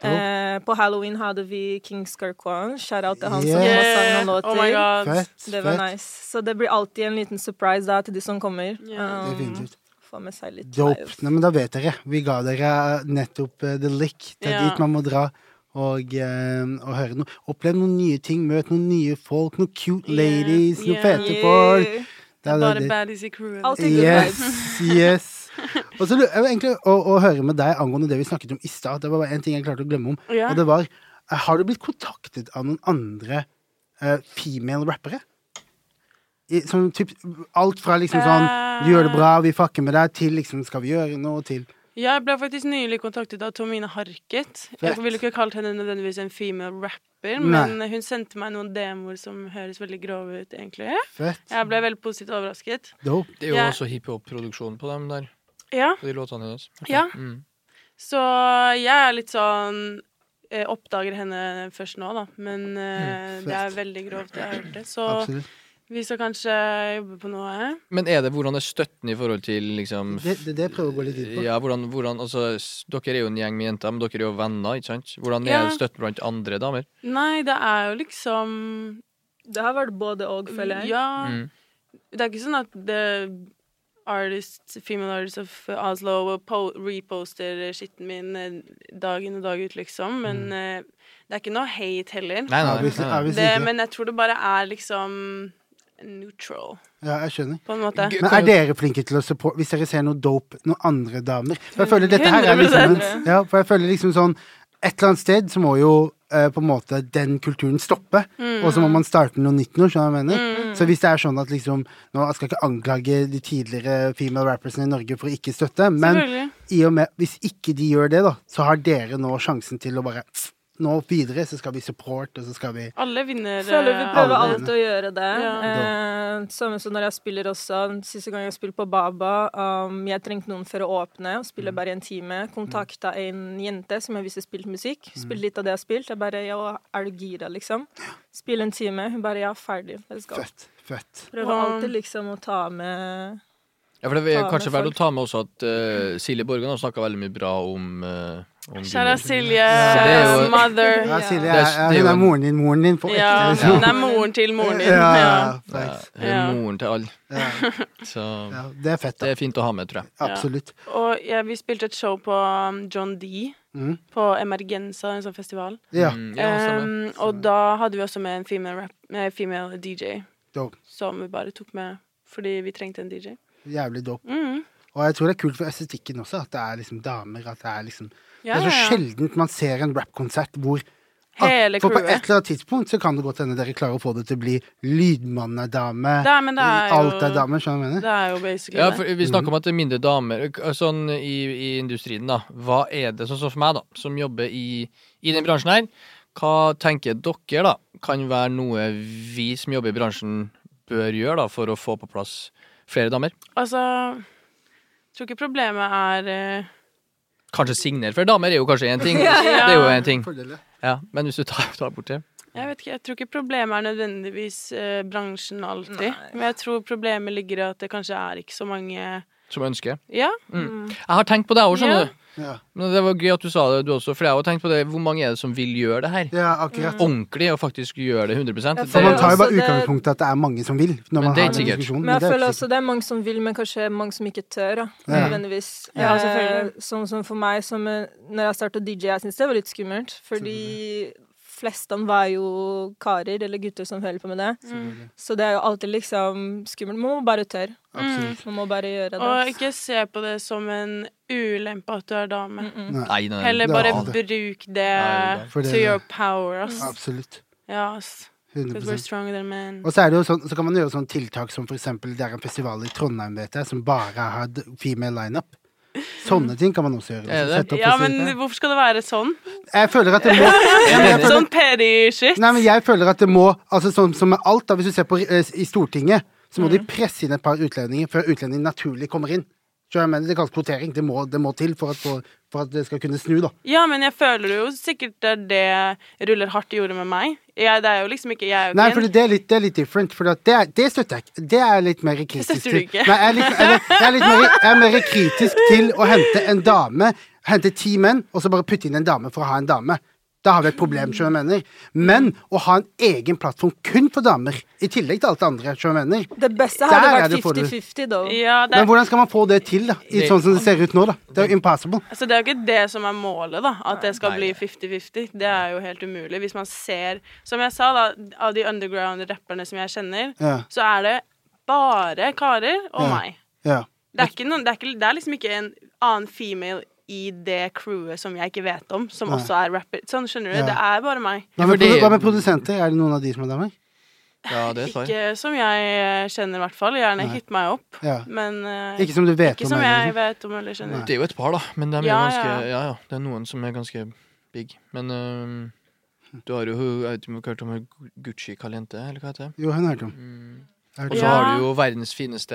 Eh, på Halloween hadde vi King Skurkwan. Shout-out til han som Yeah. har sang noen Oh my god. låter. Fett. det var fett. nice. Så det blir alltid en liten surprise da til de som kommer. Yeah. Um, Definitivt. Få med seg litt Dope. live. Nei, men da vet dere. Vi ga dere eh, nettopp eh, the lick. Det er Ja. dit man må dra. Og, eh, og høre noe. Oppleve noen nye ting, møte noen nye folk, noen cute ladies, noen Yeah. fete folk. Yeah. Det er det- Bare det- baddies i crewet. Alt- Alltid good Yes, yes. Og så lurer jeg egentlig å, å høre med deg angående det vi snakket om i stad. Det var bare én ting jeg klarte å glemme om. Ja. Og det var eh, Har du blitt kontaktet av noen andre eh, female rappere. I, som typ, alt fra liksom sånn Eh. Du gjør det bra, vi fucker med deg, til liksom Skal vi gjøre noe, til Jeg ble faktisk nylig kontaktet av Tomine Harket. Jeg ville ikke kalt henne nødvendigvis en female rapper, men eh, hun sendte meg noen demoer som høres veldig grove ut, egentlig. Fett. Jeg ble veldig positivt overrasket. Dope. Det er jo Ja. også hiphop-produksjon på dem der. Ja, På de låtene hennes. ja. Mm. Så jeg er litt sånn eh, Oppdager henne først nå, da. Men eh, Mm, det er fett. veldig grovt, jeg har hørt det. Så Absolutt. vi skal kanskje jobbe på noe. Men er det hvordan er støtten i forhold til liksom Det, det, det prøver jeg å gå litt inn på. Ja, hvordan, hvordan altså, s- Dere er jo en gjeng med jenter, men dere er jo venner, ikke sant? Hvordan er Ja. støtten blant andre damer? Nei, det er jo liksom Det har vært både og, føler jeg. Ja. Mm. Det er ikke sånn at the artists, female artists of Oslo po reposter skitten min eh, dag inn og dag ut, liksom. Men eh, det er ikke noe hate heller. Nei, nei, nei, Obviously- nei. obviously det, ikke. men jeg tror det bare er liksom neutral, Ja, jeg skjønner. på en måte. Men er dere flinke til å supporte hvis dere ser noe dope noen andre damer? For jeg føler dette her er 100%. liksom, en- ja, for jeg føler liksom sånn Et eller annet sted så må jo eh, på en måte den kulturen stoppe, og så må man starte noe nytt nå, skjønner du hva jeg mener? Så hvis det er sånn at liksom Nå jeg skal ikke anklage de tidligere female rappersene i Norge for å ikke støtte, men Selvfølgelig. i og med Hvis ikke de gjør det, da, så har dere nå sjansen til å bare Nå videre så skal vi support, og så skal vi Alle vinner. Føler vi eh, prøver Alle. alltid å gjøre det. Ja. Eh, samme som når jeg spiller også. Den Siste gang jeg spilte på Baba, um, jeg trengte noen for å åpne. og Mm. Spiller bare i en time. Kontakta en jente som jeg visste spilte musikk. Mm. Spilte litt av det jeg har spilt. Jeg bare Ja, er du gira, liksom? Spille en time. Hun bare Ja, ferdig. Let's go. Fett. Fett. Prøver alltid liksom å ta med Ja, for det er Ta med kanskje verdt å folk. ta med også at eh, Silje Borgen har snakka veldig mye bra om, eh, om Kjære Gunvor. Silje, det er jo- mother. Ja, Ja. Silje, Det er- ja, hun det er jo er en- moren din, moren din på Ja, ekte. hun er moren til moren din. Ja, Ja. Ja, facts. Eh, hun er Ja. moren til alle. Ja. Så Ja, det er fett, det da. er fint å ha med, tror jeg. Absolutt. Og ja, vi spilte et show på um, John D. Mm. På Emergenza, en sånn festival. Ja. Mm, ja, stemmer. Um, og da hadde vi også med en female, rap, eh, female DJ, Dope. som vi bare tok med fordi vi trengte en DJ. Jævlig dope. Mm. Og jeg tror det er kult for estetikken også, at det er liksom damer. At det er liksom Ja, Det er ja, så ja. sjeldent man ser en rappkonsert hvor Hele For på et crewet. eller annet tidspunkt så kan det godt hende dere klarer å få det til å bli lydmannedame. Det er, men det er jo Alt er damer, skjønner du hva jeg mener? Det er jo basically Ja, det. for vi snakker om at det er mindre damer K- Sånn i, i industrien, da. Hva er det, sånn som for meg, da, som jobber i, i den bransjen her, hva tenker dere da kan være noe vi som jobber i bransjen, bør gjøre da for å få på plass flere damer? Altså Jeg tror ikke problemet er eh, Kanskje signere flere damer er jo kanskje [LAUGHS] én ting. Det er jo en ting. Fordeler. Ja, men hvis du tar, tar bort det Jeg vet ikke, jeg tror ikke problemet er nødvendigvis eh, bransjen alltid. Men jeg tror problemet ligger i at det kanskje er ikke så mange som ønsker Ja, Jeg har tenkt på det òg, skjønner Ja. du. Ja. Men det var gøy at du sa det, du også. For jeg har også tenkt på det. Hvor mange er det som vil gjøre det her? ja, Mm. akkurat. Ordentlig, og faktisk gjøre det 100 For For man tar jo bare Altså, det- utgangspunktet at det er mange som vil. Når man det er har den sikkert. diskusjonen. Men jeg det er føler ikke også det er mange som vil, men kanskje mange som ikke tør. Da, Ja. nødvendigvis. Ja, Eh, selvfølgelig. sånn som for meg, som eh, når jeg starta DJ, jeg syntes det var litt skummelt. Fordi flestene var jo karer eller gutter som hører på med det. Mm. Så det er jo alltid liksom skummelt. Man må bare tørre. Man må bare gjøre det. og ikke se på det som en ulempe at du er dame. Nei, nei, nei. Heller det bare er det. bruk Nei, det For det- to your power, ass. sikkert. Absolutt. Ja, ass. Because we're 100 stronger than men. Og så, er det jo sånn, så kan man gjøre sånn tiltak som for eksempel det er en festival i Trondheim vet jeg, som bare har d- female lineup. Sånne ting kan man også gjøre. liksom. Er det? Sette opp Ja, festi- men hvorfor skal det være sånn? Jeg føler at det må ja, men jeg føler, Sånn petty shit. Nei, men jeg føler at det må altså Som, som med alt, da, hvis du ser på eh, i Stortinget, så må de presse inn et par utlendinger før utlendingen naturlig kommer inn. Så jeg mener, Det kalles kvotering. Det må, det må til for at, for, for at det skal kunne snu, da. Ja, men jeg føler jo sikkert det er det Ruller Hardt gjorde med meg. Jeg, det er jo liksom ikke Jeg er jo Nei, ikke for en- det er litt, det er litt different. For at det, er, det støtter jeg ikke. Det er jeg litt mer kritisk støtter du ikke. til. Nei, jeg er, litt, jeg, er- jeg, er litt mer, jeg er mer kritisk til å hente en dame, hente ti menn, og så bare putte inn en dame for å ha en dame. Da har vi et problem, skjønner du hva jeg mener. Men å ha en egen plattform kun for damer, i tillegg til alt det andre, skjønner du hva jeg mener. Det beste Der hadde er vært det for du. 50-50, da. Ja, det Men er, hvordan skal man få det til, da? I Det- sånn som det ser ut nå, da. Det er jo impossible. altså, det er jo ikke det som er målet, da. At det skal Nei. bli 50-50. Det er jo helt umulig. Hvis man ser Som jeg sa, da, av de underground-rapperne som jeg kjenner, Ja. så er det bare karer og Ja. meg. Ja. Det er, ikke noen, det, er ikke, det er liksom ikke en annen female i det crewet som jeg ikke vet om, som Nei. også er rapper. Sånn, skjønner du? Ja. Det er bare meg. Hva med, fordi- produ- hva med produsenter? Er det noen av de som er damer? Ja, det er et svar. Ikke som jeg eh, kjenner, i hvert fall. Gjerne Nei. hit meg opp, Ja. men eh, Ikke som du vet om. ikke liksom? som eller jeg noe vet om eller kjenner. Nei. Det er jo et par, da. Men de er jo Ja, ganske, ja. ja, ja. Det er noen som er ganske big. Men øhm, du har jo hun- Jeg vet ikke om du har hørt om hun Gu- Gucci Caliente, eller hva heter det? sånt. Jo, hun har hørt om. Mm. Jeg har hørt Og om. så Ja. har du jo verdens fineste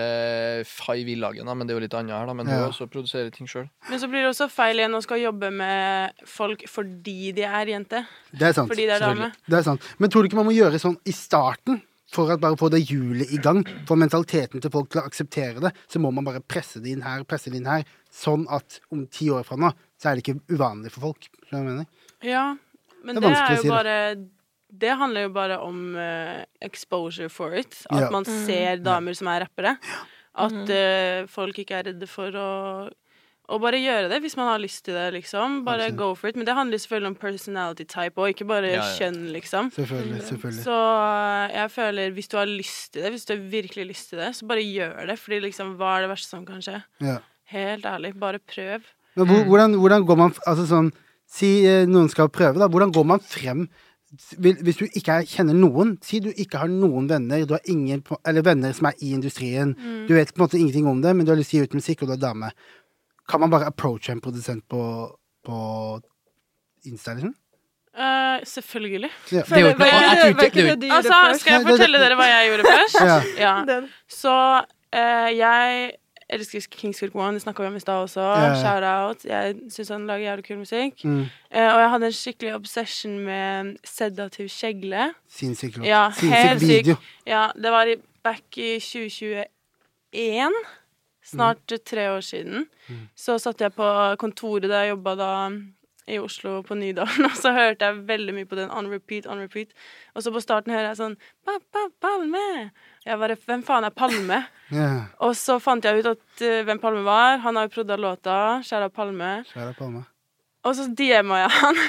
Five Villagen, da, men det er jo litt annet her, da. Men Ja. hun også produserer ting sjøl. Men så blir det også feil igjen å skal jobbe med folk fordi de er jente. Det er sant. Fordi de er dame. Det er sant. Men tror du ikke man må gjøre sånn i starten? For at bare få det hjulet i gang, få mentaliteten til folk til å akseptere det, så må man bare presse det inn her, presse det inn her, sånn at om ti år fra nå, så er det ikke uvanlig for folk. Skjønner du hva jeg mener? Ja, men Det er det er, vanskelig å jo si, da. bare Det handler jo bare om eh, exposure for it. At Ja. man ser damer som er rappere. At eh, folk ikke er redde for å å bare gjøre det hvis man har lyst til det, liksom. Bare Absolutt. go for it. Men det handler selvfølgelig om personality type og ikke bare Ja, ja. kjønn, liksom. Selvfølgelig, selvfølgelig. Så eh, jeg føler hvis du har lyst til det, hvis du har virkelig lyst til det, så bare gjør det. Fordi liksom, hva er det verste som kan skje? Ja. Helt ærlig, bare prøv. Men Mm. hvor, hvordan, hvordan går man f- Altså sånn Si eh, noen skal prøve, da. Hvordan går man frem Vil- hvis du ikke er, kjenner noen? Si du ikke har noen venner, du har ingen på- Eller venner som er i industrien. Mm. Du vet på en måte ingenting om det, men du har lyst til å gi ut musikk, og du er dame. Kan man bare approache en produsent på, på Insta, liksom? Eh, selvfølgelig. Ja. Det er jo ikke noe- jeg tror ikke- Var ikke det er jo- det du gjorde Altså, først? skal jeg Nei, det- fortelle dere hva jeg gjorde først? [LAUGHS] Ja. Ja. Den. Så eh, jeg elsker Kings Kirk One, det snakka vi om i stad også. Ja, ja. Shout-out. Jeg syns han lager jævlig kul musikk. Mm. Eh, og jeg hadde en skikkelig obsession med sedativ kjegle. Sinnssyk låt. Ja, helt Sinnssyk syk. video. Ja, det var i, back i 2021. Snart tre år siden. Så satt jeg på kontoret der jeg jobba da i Oslo på Nydalen, [LAUGHS] og så hørte jeg veldig mye på den on repeat, on repeat. Og så på starten hører jeg sånn pa, pa, Palme. Jeg bare Hvem faen er Palme? Ja. Og så fant jeg ut at eh, hvem Palme var. Han har jo prodda låta. Skjæra Palme. Kjære Palme. Og så DM-a jeg han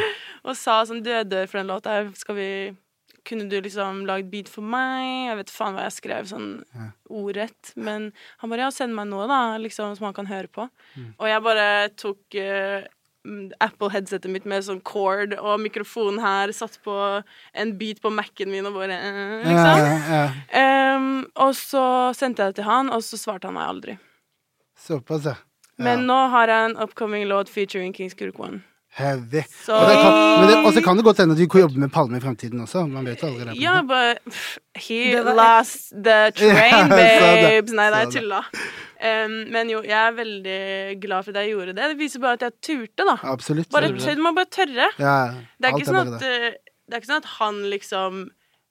[LAUGHS] og sa sånn Du jeg dør for den låta her. Skal vi Kunne du liksom lagd beat for meg? Jeg vet faen hva jeg skrev sånn Ja. ordrett. Men han bare Ja, send meg noe, da, liksom, som han kan høre på. Mm. Og jeg bare tok eh, mm, Apple-headsetet mitt med sånn cord og mikrofon her, satt på en beat på Mac-en min og bare eh, Ja, Liksom. ja, ja. Ehm, og så sendte jeg det til han, og så svarte han meg aldri. Såpass, ja. Men Ja. nå har jeg en upcoming låt featuring Kings Kurk One. Heavy. Så Og det kan, men det, også kan det godt hende at du kan jobbe med Palme i fremtiden også. Man vet jo aldri det. Ja, but pff, he Det var- lost the [LAUGHS] Ja, train, sa det, babes. Nei, det sa er det. tulla. Ehm, men jo, jeg er veldig glad for at jeg gjorde det. Det viser bare at jeg turte, da. Absolutt. Bare, Absolutt. du må bare tørre. Ja, Det er, alt ikke bare sånn at, eh, det er ikke sånn at han liksom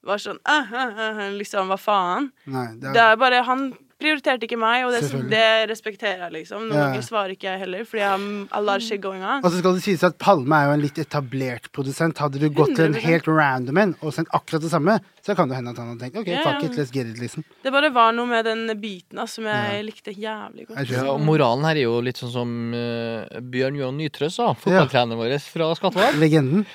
var sånn ah, ah, ah, ah, Liksom, hva faen? Nei, det Det er, er bare Han prioriterte ikke meg, og det, Selvfølgelig. det respekterer jeg, liksom. Noen Ja. ganger svarer ikke jeg heller, fordi jeg har a lot of shit going on. og så skal det sies at Palme er jo en litt etablert produsent. Hadde du gått til en 100%. helt random en og sendt akkurat det samme, så kan det hende at han hadde tenkt OK, Ja, fuck ja. it, let's get it, liksom. Det bare var noe med den biten altså, som jeg likte jævlig godt. Jeg Ja, og tror moralen her er jo litt sånn som eh, Bjørn Johan Nytrø sa, fotballtreneren vår fra Skatval. Legenden.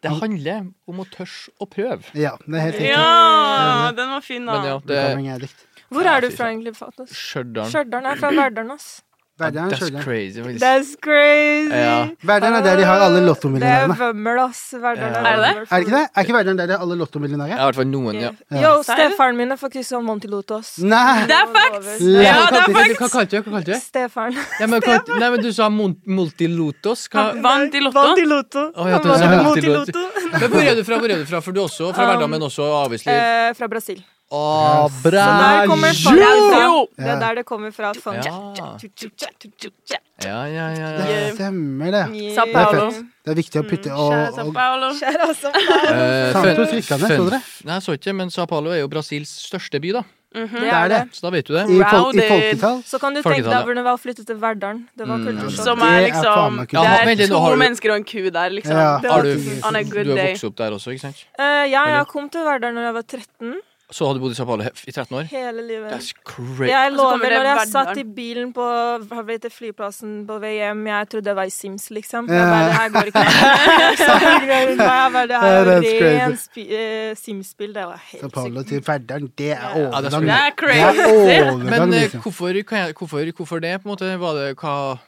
Det handler om å tørre å prøve. Ja, det er helt riktig. Ja! Den var fin, Men ja, da. det Becoming addict. Hvor er du fra egentlig, Fatnes? Stjørdal. Stjørdal er fra Verdalen, ass. Verdalen er That's Stjørdal. crazy, faktisk. That's crazy! Ja. Verdalen er der de har alle lottomillionærene. Det er Vømmøl, ass. Verdalen Ja. Er er, det det? Vømmøl. Er det ikke det? Er ikke Verdalen der de har alle Ja, lottomillionærer? I hvert fall noen, ja. Ja. Yo, stefaren min er faktisk sånn Montiloto, ass. Nei! Det er facts! Nei, Ja, hva det er kalte facts! Hva kalte du hva kalte du det? Stefaren. Ja, men, hva, nei, men du sa mon- multilotos. Hva? Vant i Lotto. Montiloto. Å, ja, du Han sa var Montiloto. Montiloto. Men hvor er du fra? Hvor er du fra? For du er også fra Verdal, men også avholdsliv. Eh, fra Brasil. Å, Ah, Der kommer bra! funk. Jo! Det er der det kommer fra. Sånn, sånn. Funk. Ja. Ja, ja, ja. ja. Det stemmer, det. Yeah. Sao Det er Paulo. fett. Det er viktig å putte Kjære og, Sao og Paulo. Kjære, altså. Eh, Santos rykka ned, så dere? Nei, jeg så ikke, men Sao Paulo er jo Brasils største by, da. Det er det. Så da vet du det. I, fol i Crowded. folketall. Så kan du tenke deg Folketallet. hvordan det var å flytte til Verdalen. Det var Mm. kultursjokk. Som er Det er faen liksom meg Det kult. Ja, vent er litt, nå to har du- mennesker og en ku der, Ja. liksom. Har du, On a good du har day. vokst opp der også, ikke sant? Eh, ja, Eller? jeg kom til Verdalen når jeg var 13. Så har du bodd i Sao Paulo he- i 13 år? Hele livet. That's crazy. Jeg Og så kommer lover, det når jeg Verdalen. satt i bilen på hva heter det, flyplassen på vei hjem, jeg trodde jeg var i Sims, liksom. Ja. Jeg bare, det her går ikke. [LAUGHS] Så jeg bare, det Ja, her er that's jo crazy. ren spi- eh, Sims-spill. Det var Sao helt Paulo sykt. til Verdalen, det er overgang. skulle Det jeg- Det er er crazy. overgang, Men eh, liksom. hvorfor, kan jeg- hvorfor, hvorfor det, på en måte? Var det hva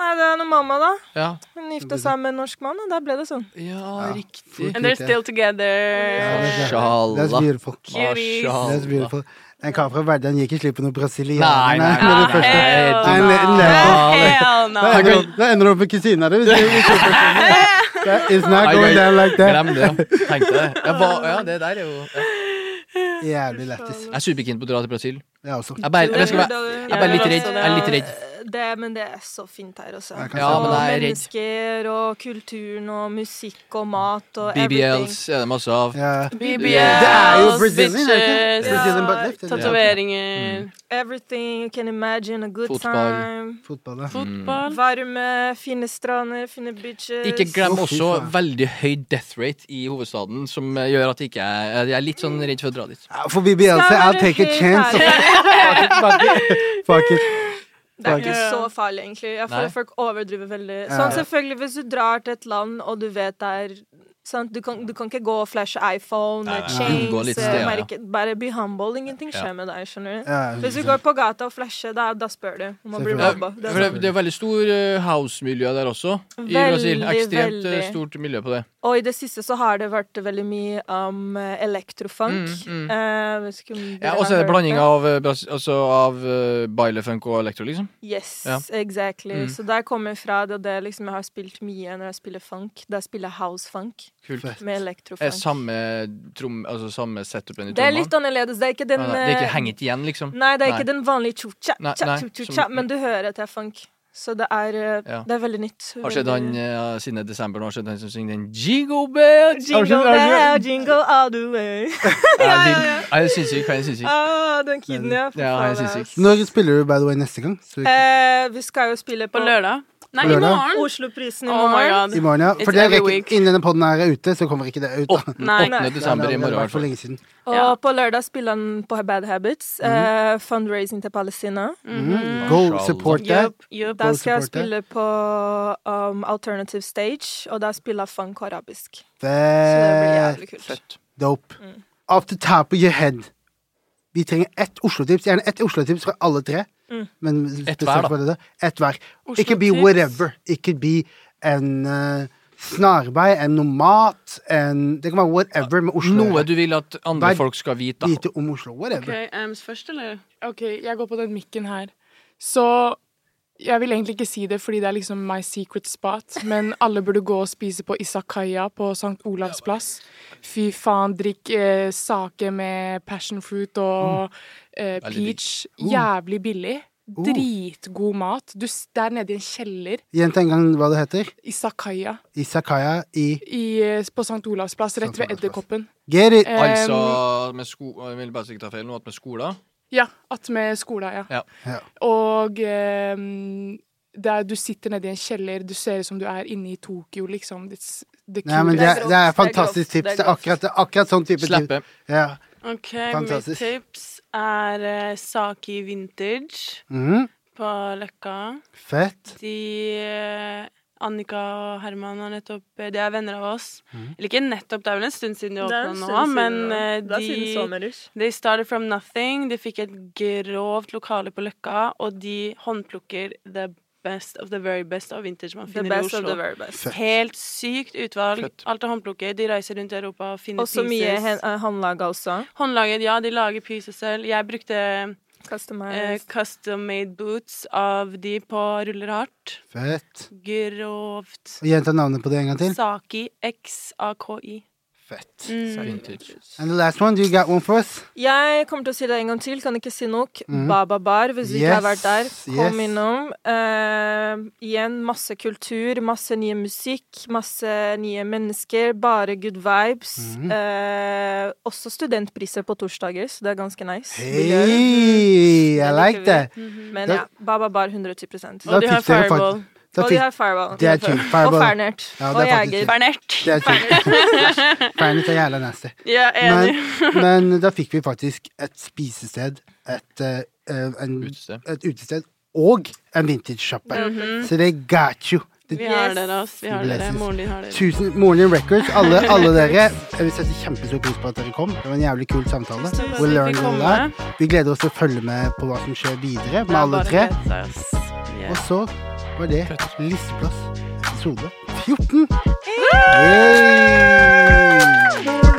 Nei, det er noe mamma, da. Ja, Hun gifta seg med en norsk mann, og da ble det sånn. ja riktig. And they're Lite. still together. That's Mashallah. beautiful. Cuties. That's Mashallah. beautiful. En kar fra Verdalen gir ikke slipp på noen Nei, brasilianer. nei, med det nei, første. hell Nei, nei, nei. Hell Da no. ender- Da ender du opp med kusina di. hvis du ikke slipper på det. It's not Ai, going ai, down like that. Glem det. Tenkte det. Ja, [LAUGHS] hva- ja, det der er jo ja. Jævlig lættis. Jeg er superkeen på å dra til Brasil. Jeg også. Jeg bare, jeg skal være jeg er bare litt redd. Jeg er litt redd. sånn, eh, Det, men det er så fint her også. Jeg kan Ja, Og men jeg er redd. mennesker og kulturen og musikk og mat og everything. BBLs er det masse av. Ja. BBLs, Det er jo Brazilian, er det ikke? bitches, Brazilian Mm. butt lift. er det? tatoveringer, Everything you can imagine, a good Fotball. time. Fotball, ja. Mm. fotball. Varme, fine strander, fine beaches. Ikke glem Å, fy også faen. veldig høy death rate i hovedstaden, som eh, gjør at jeg ikke er- jeg er litt sånn redd for å dra [LAUGHS] dit. Ja, For Beyoncé, Skal I'll være take a helt altså, chance. ærlig. Fuck it. Fuck it. Det er ikke Ja. så farlig, egentlig. Jeg Nei. føler folk overdriver veldig. Ja. Sånn selvfølgelig, Hvis du drar til et land og du vet det er sant? Du, kan, du kan ikke gå og flashe iPhone Nei, og nei, nei. Unngå chains litt eh, steder, ja. merke, Bare be humble. Ingenting skjer med deg. skjønner du? Ja, Hvis du går på gata og flasher, da, da spør du om å bli Selvfølgelig. Ja, mobba. for Det er det, det er veldig stor eh, house-miljø der også, i Veldig, Brasil. Ekstremt eh, veldig. stort miljø på det. sånn. Og i det siste så har det vært veldig mye om eh, elektrofunk. Mm, mm. Eh, vet ikke om dere Ja, har og så er hørt det blanding av, eh, Bras- altså av eh, bailefunk og elektro, liksom. Yes, Ja. exactly. Mm. Så der kommer jeg fra det, det liksom jeg har spilt mye når jeg spiller funk. Da spiller jeg house funk Kult. med Er elektrofunk. samme trom... Altså samme setupen i Det er trommene? litt annerledes. Det er ikke den Ah, nei, det er ikke eh, hengt igjen, liksom? Nei, det er ikke Nei. den vanlige chucha, Nei, cha, nei, chucha, som- men du hører at det er funk. Så det er, eh, Ja. det er veldig nytt. Har Veldig- sett han eh, siden desember nå, har sett han som synger den Jingle Bell! Jingle bell, jingle all the way. Ja, den- ja, den er sinnssyk. Den er sinnssyk. Ah, den kiden, ja. Ja, jeg faen, synes ass. ikke. Når spiller du By the Way neste gang? Så, Eh, vi skal jo spille på, På lørdag? Nei, På i lørdag? morgen. Osloprisen i Oh my morgen. god. I morgen, ja. For It's det every rekker, week. innen denne podden her er ute, så kommer ikke det ut. da. 8. Nei. desember i morgen, altså. i hvert For fall. lenge siden. og Ja. på lørdag spiller han på Bad Habits. Mhm. eh, fundraising til Palestina. Mm. Go support that. Yup, yup. Da skal jeg supporte. spille på um, Alternative Stage, og da spiller jeg funk og arabisk. Så det blir Fett. jævlig kult. Dope. Off the top of your head. Vi trenger ett Oslo-tips. Gjerne ett Oslo-tips fra alle tre. Men spesielt hver, da. for dere. Ett hver. It could be Oslo-tips. whatever. It could be en eh, snarvei, en noe mat, en Det kan være whatever med Oslo. Noe du vil at andre Vær- folk skal vite, da. Vite om Oslo. Whatever. Ok, Ams først, eller? OK, jeg går på den mikken her. Så jeg vil egentlig ikke si det, fordi det er liksom my secret spot, [LAUGHS] men alle burde gå og spise på Isakaya på St. Olavs plass. Fy faen, drikk eh, sake med passion fruit og eh, Veldig peach. Mm. Uh. Jævlig billig. Uh. Dritgod mat. Du, s- det er nede i en kjeller. Gjenta en gang hva det heter. Isakaya Isakaya i i, eh, på St. Olavs plass, rett ved Olavs plass. Edderkoppen. Get it! Eh, Altså med sko... Jeg vil bare ikke ta feil nå, at med skoler Ja, attmed skolen, ja. Ja. Ja. Og eh, der du sitter nede i en kjeller, du ser ut som du er inne i Tokyo, liksom. Det, s- det Nei, men det, kule- Det er- det er er grovt, det er fantastisk grovt, det er tips. Det er grovt. akkurat, det er akkurat sånn type tips. Slippe. Ja. Ok, Fantastisk. mitt tips er eh, Saki Vintage Mhm. på Løkka. Fett. De eh, Annika og Herman har nettopp eh, De er venner av oss. Eller ikke nettopp, det er vel en stund siden de Det er åpna en nå, stund siden men nå. eh, Det er siden de sommerrush. They started from nothing. De fikk et grovt lokale på Løkka, og de håndplukker the best of the very best av vintage man The finner i best of Oslo. the very best. Helt sykt utvalg. Fett. Alt er håndplukket. De reiser rundt i Europa og finner Og så mye pieces. hen- eh, håndlaga også. Håndlaget, ja, de lager pieces selv. Jeg brukte eh, Customized. custom made boots av de på Ruller Hardt. Fett. Grovt. Og Gjenta navnet på det en gang til. Saki. X-A-K-I. Fett. Eh, mm. Vintage. And the last one, do you got one for us? Jeg kommer til å si det en gang til, kan ikke si nok. Baba Bar, hvis du ikke har vært der, Mhm. Yes, kom yes. innom. Eh, igjen, masse kultur, masse nye musikk, masse nye mennesker, bare good vibes. Mhm. Eh, også studentpriser på torsdager, så det er ganske nice. Billøp. Hey, I like that. Men Da- ja, Baba Bar 110 Da Og de har fikk dere faktisk- fireball. Da Og de fikk, har fireball. Det er kjipt. Og Fireball. Ja, det Fernert. er og faktisk Jeger. kjipt. Bernert. det er kjipt. Fernet er jævla nasty. Ja, enig. Men, men da fikk vi faktisk et spisested, et, eh, eh, en, Utested. et utested og en vintage-sjappe. Så det got you. Det Vi har dere, ass. Vi har dere. Blessings. Moren din har dere. Tusen Morning Records, alle, alle dere. Jeg vil sette kjempestor pris på at dere kom. Det var en jævlig kul samtale. Tusen takk We'll for at learn vi eh? fikk a komme. lot. Vi gleder oss til å følge med på hva som skjer videre med alle tre. Det er bare fett, ass. Vi er- Og så var det listeplass episode 14. Yay!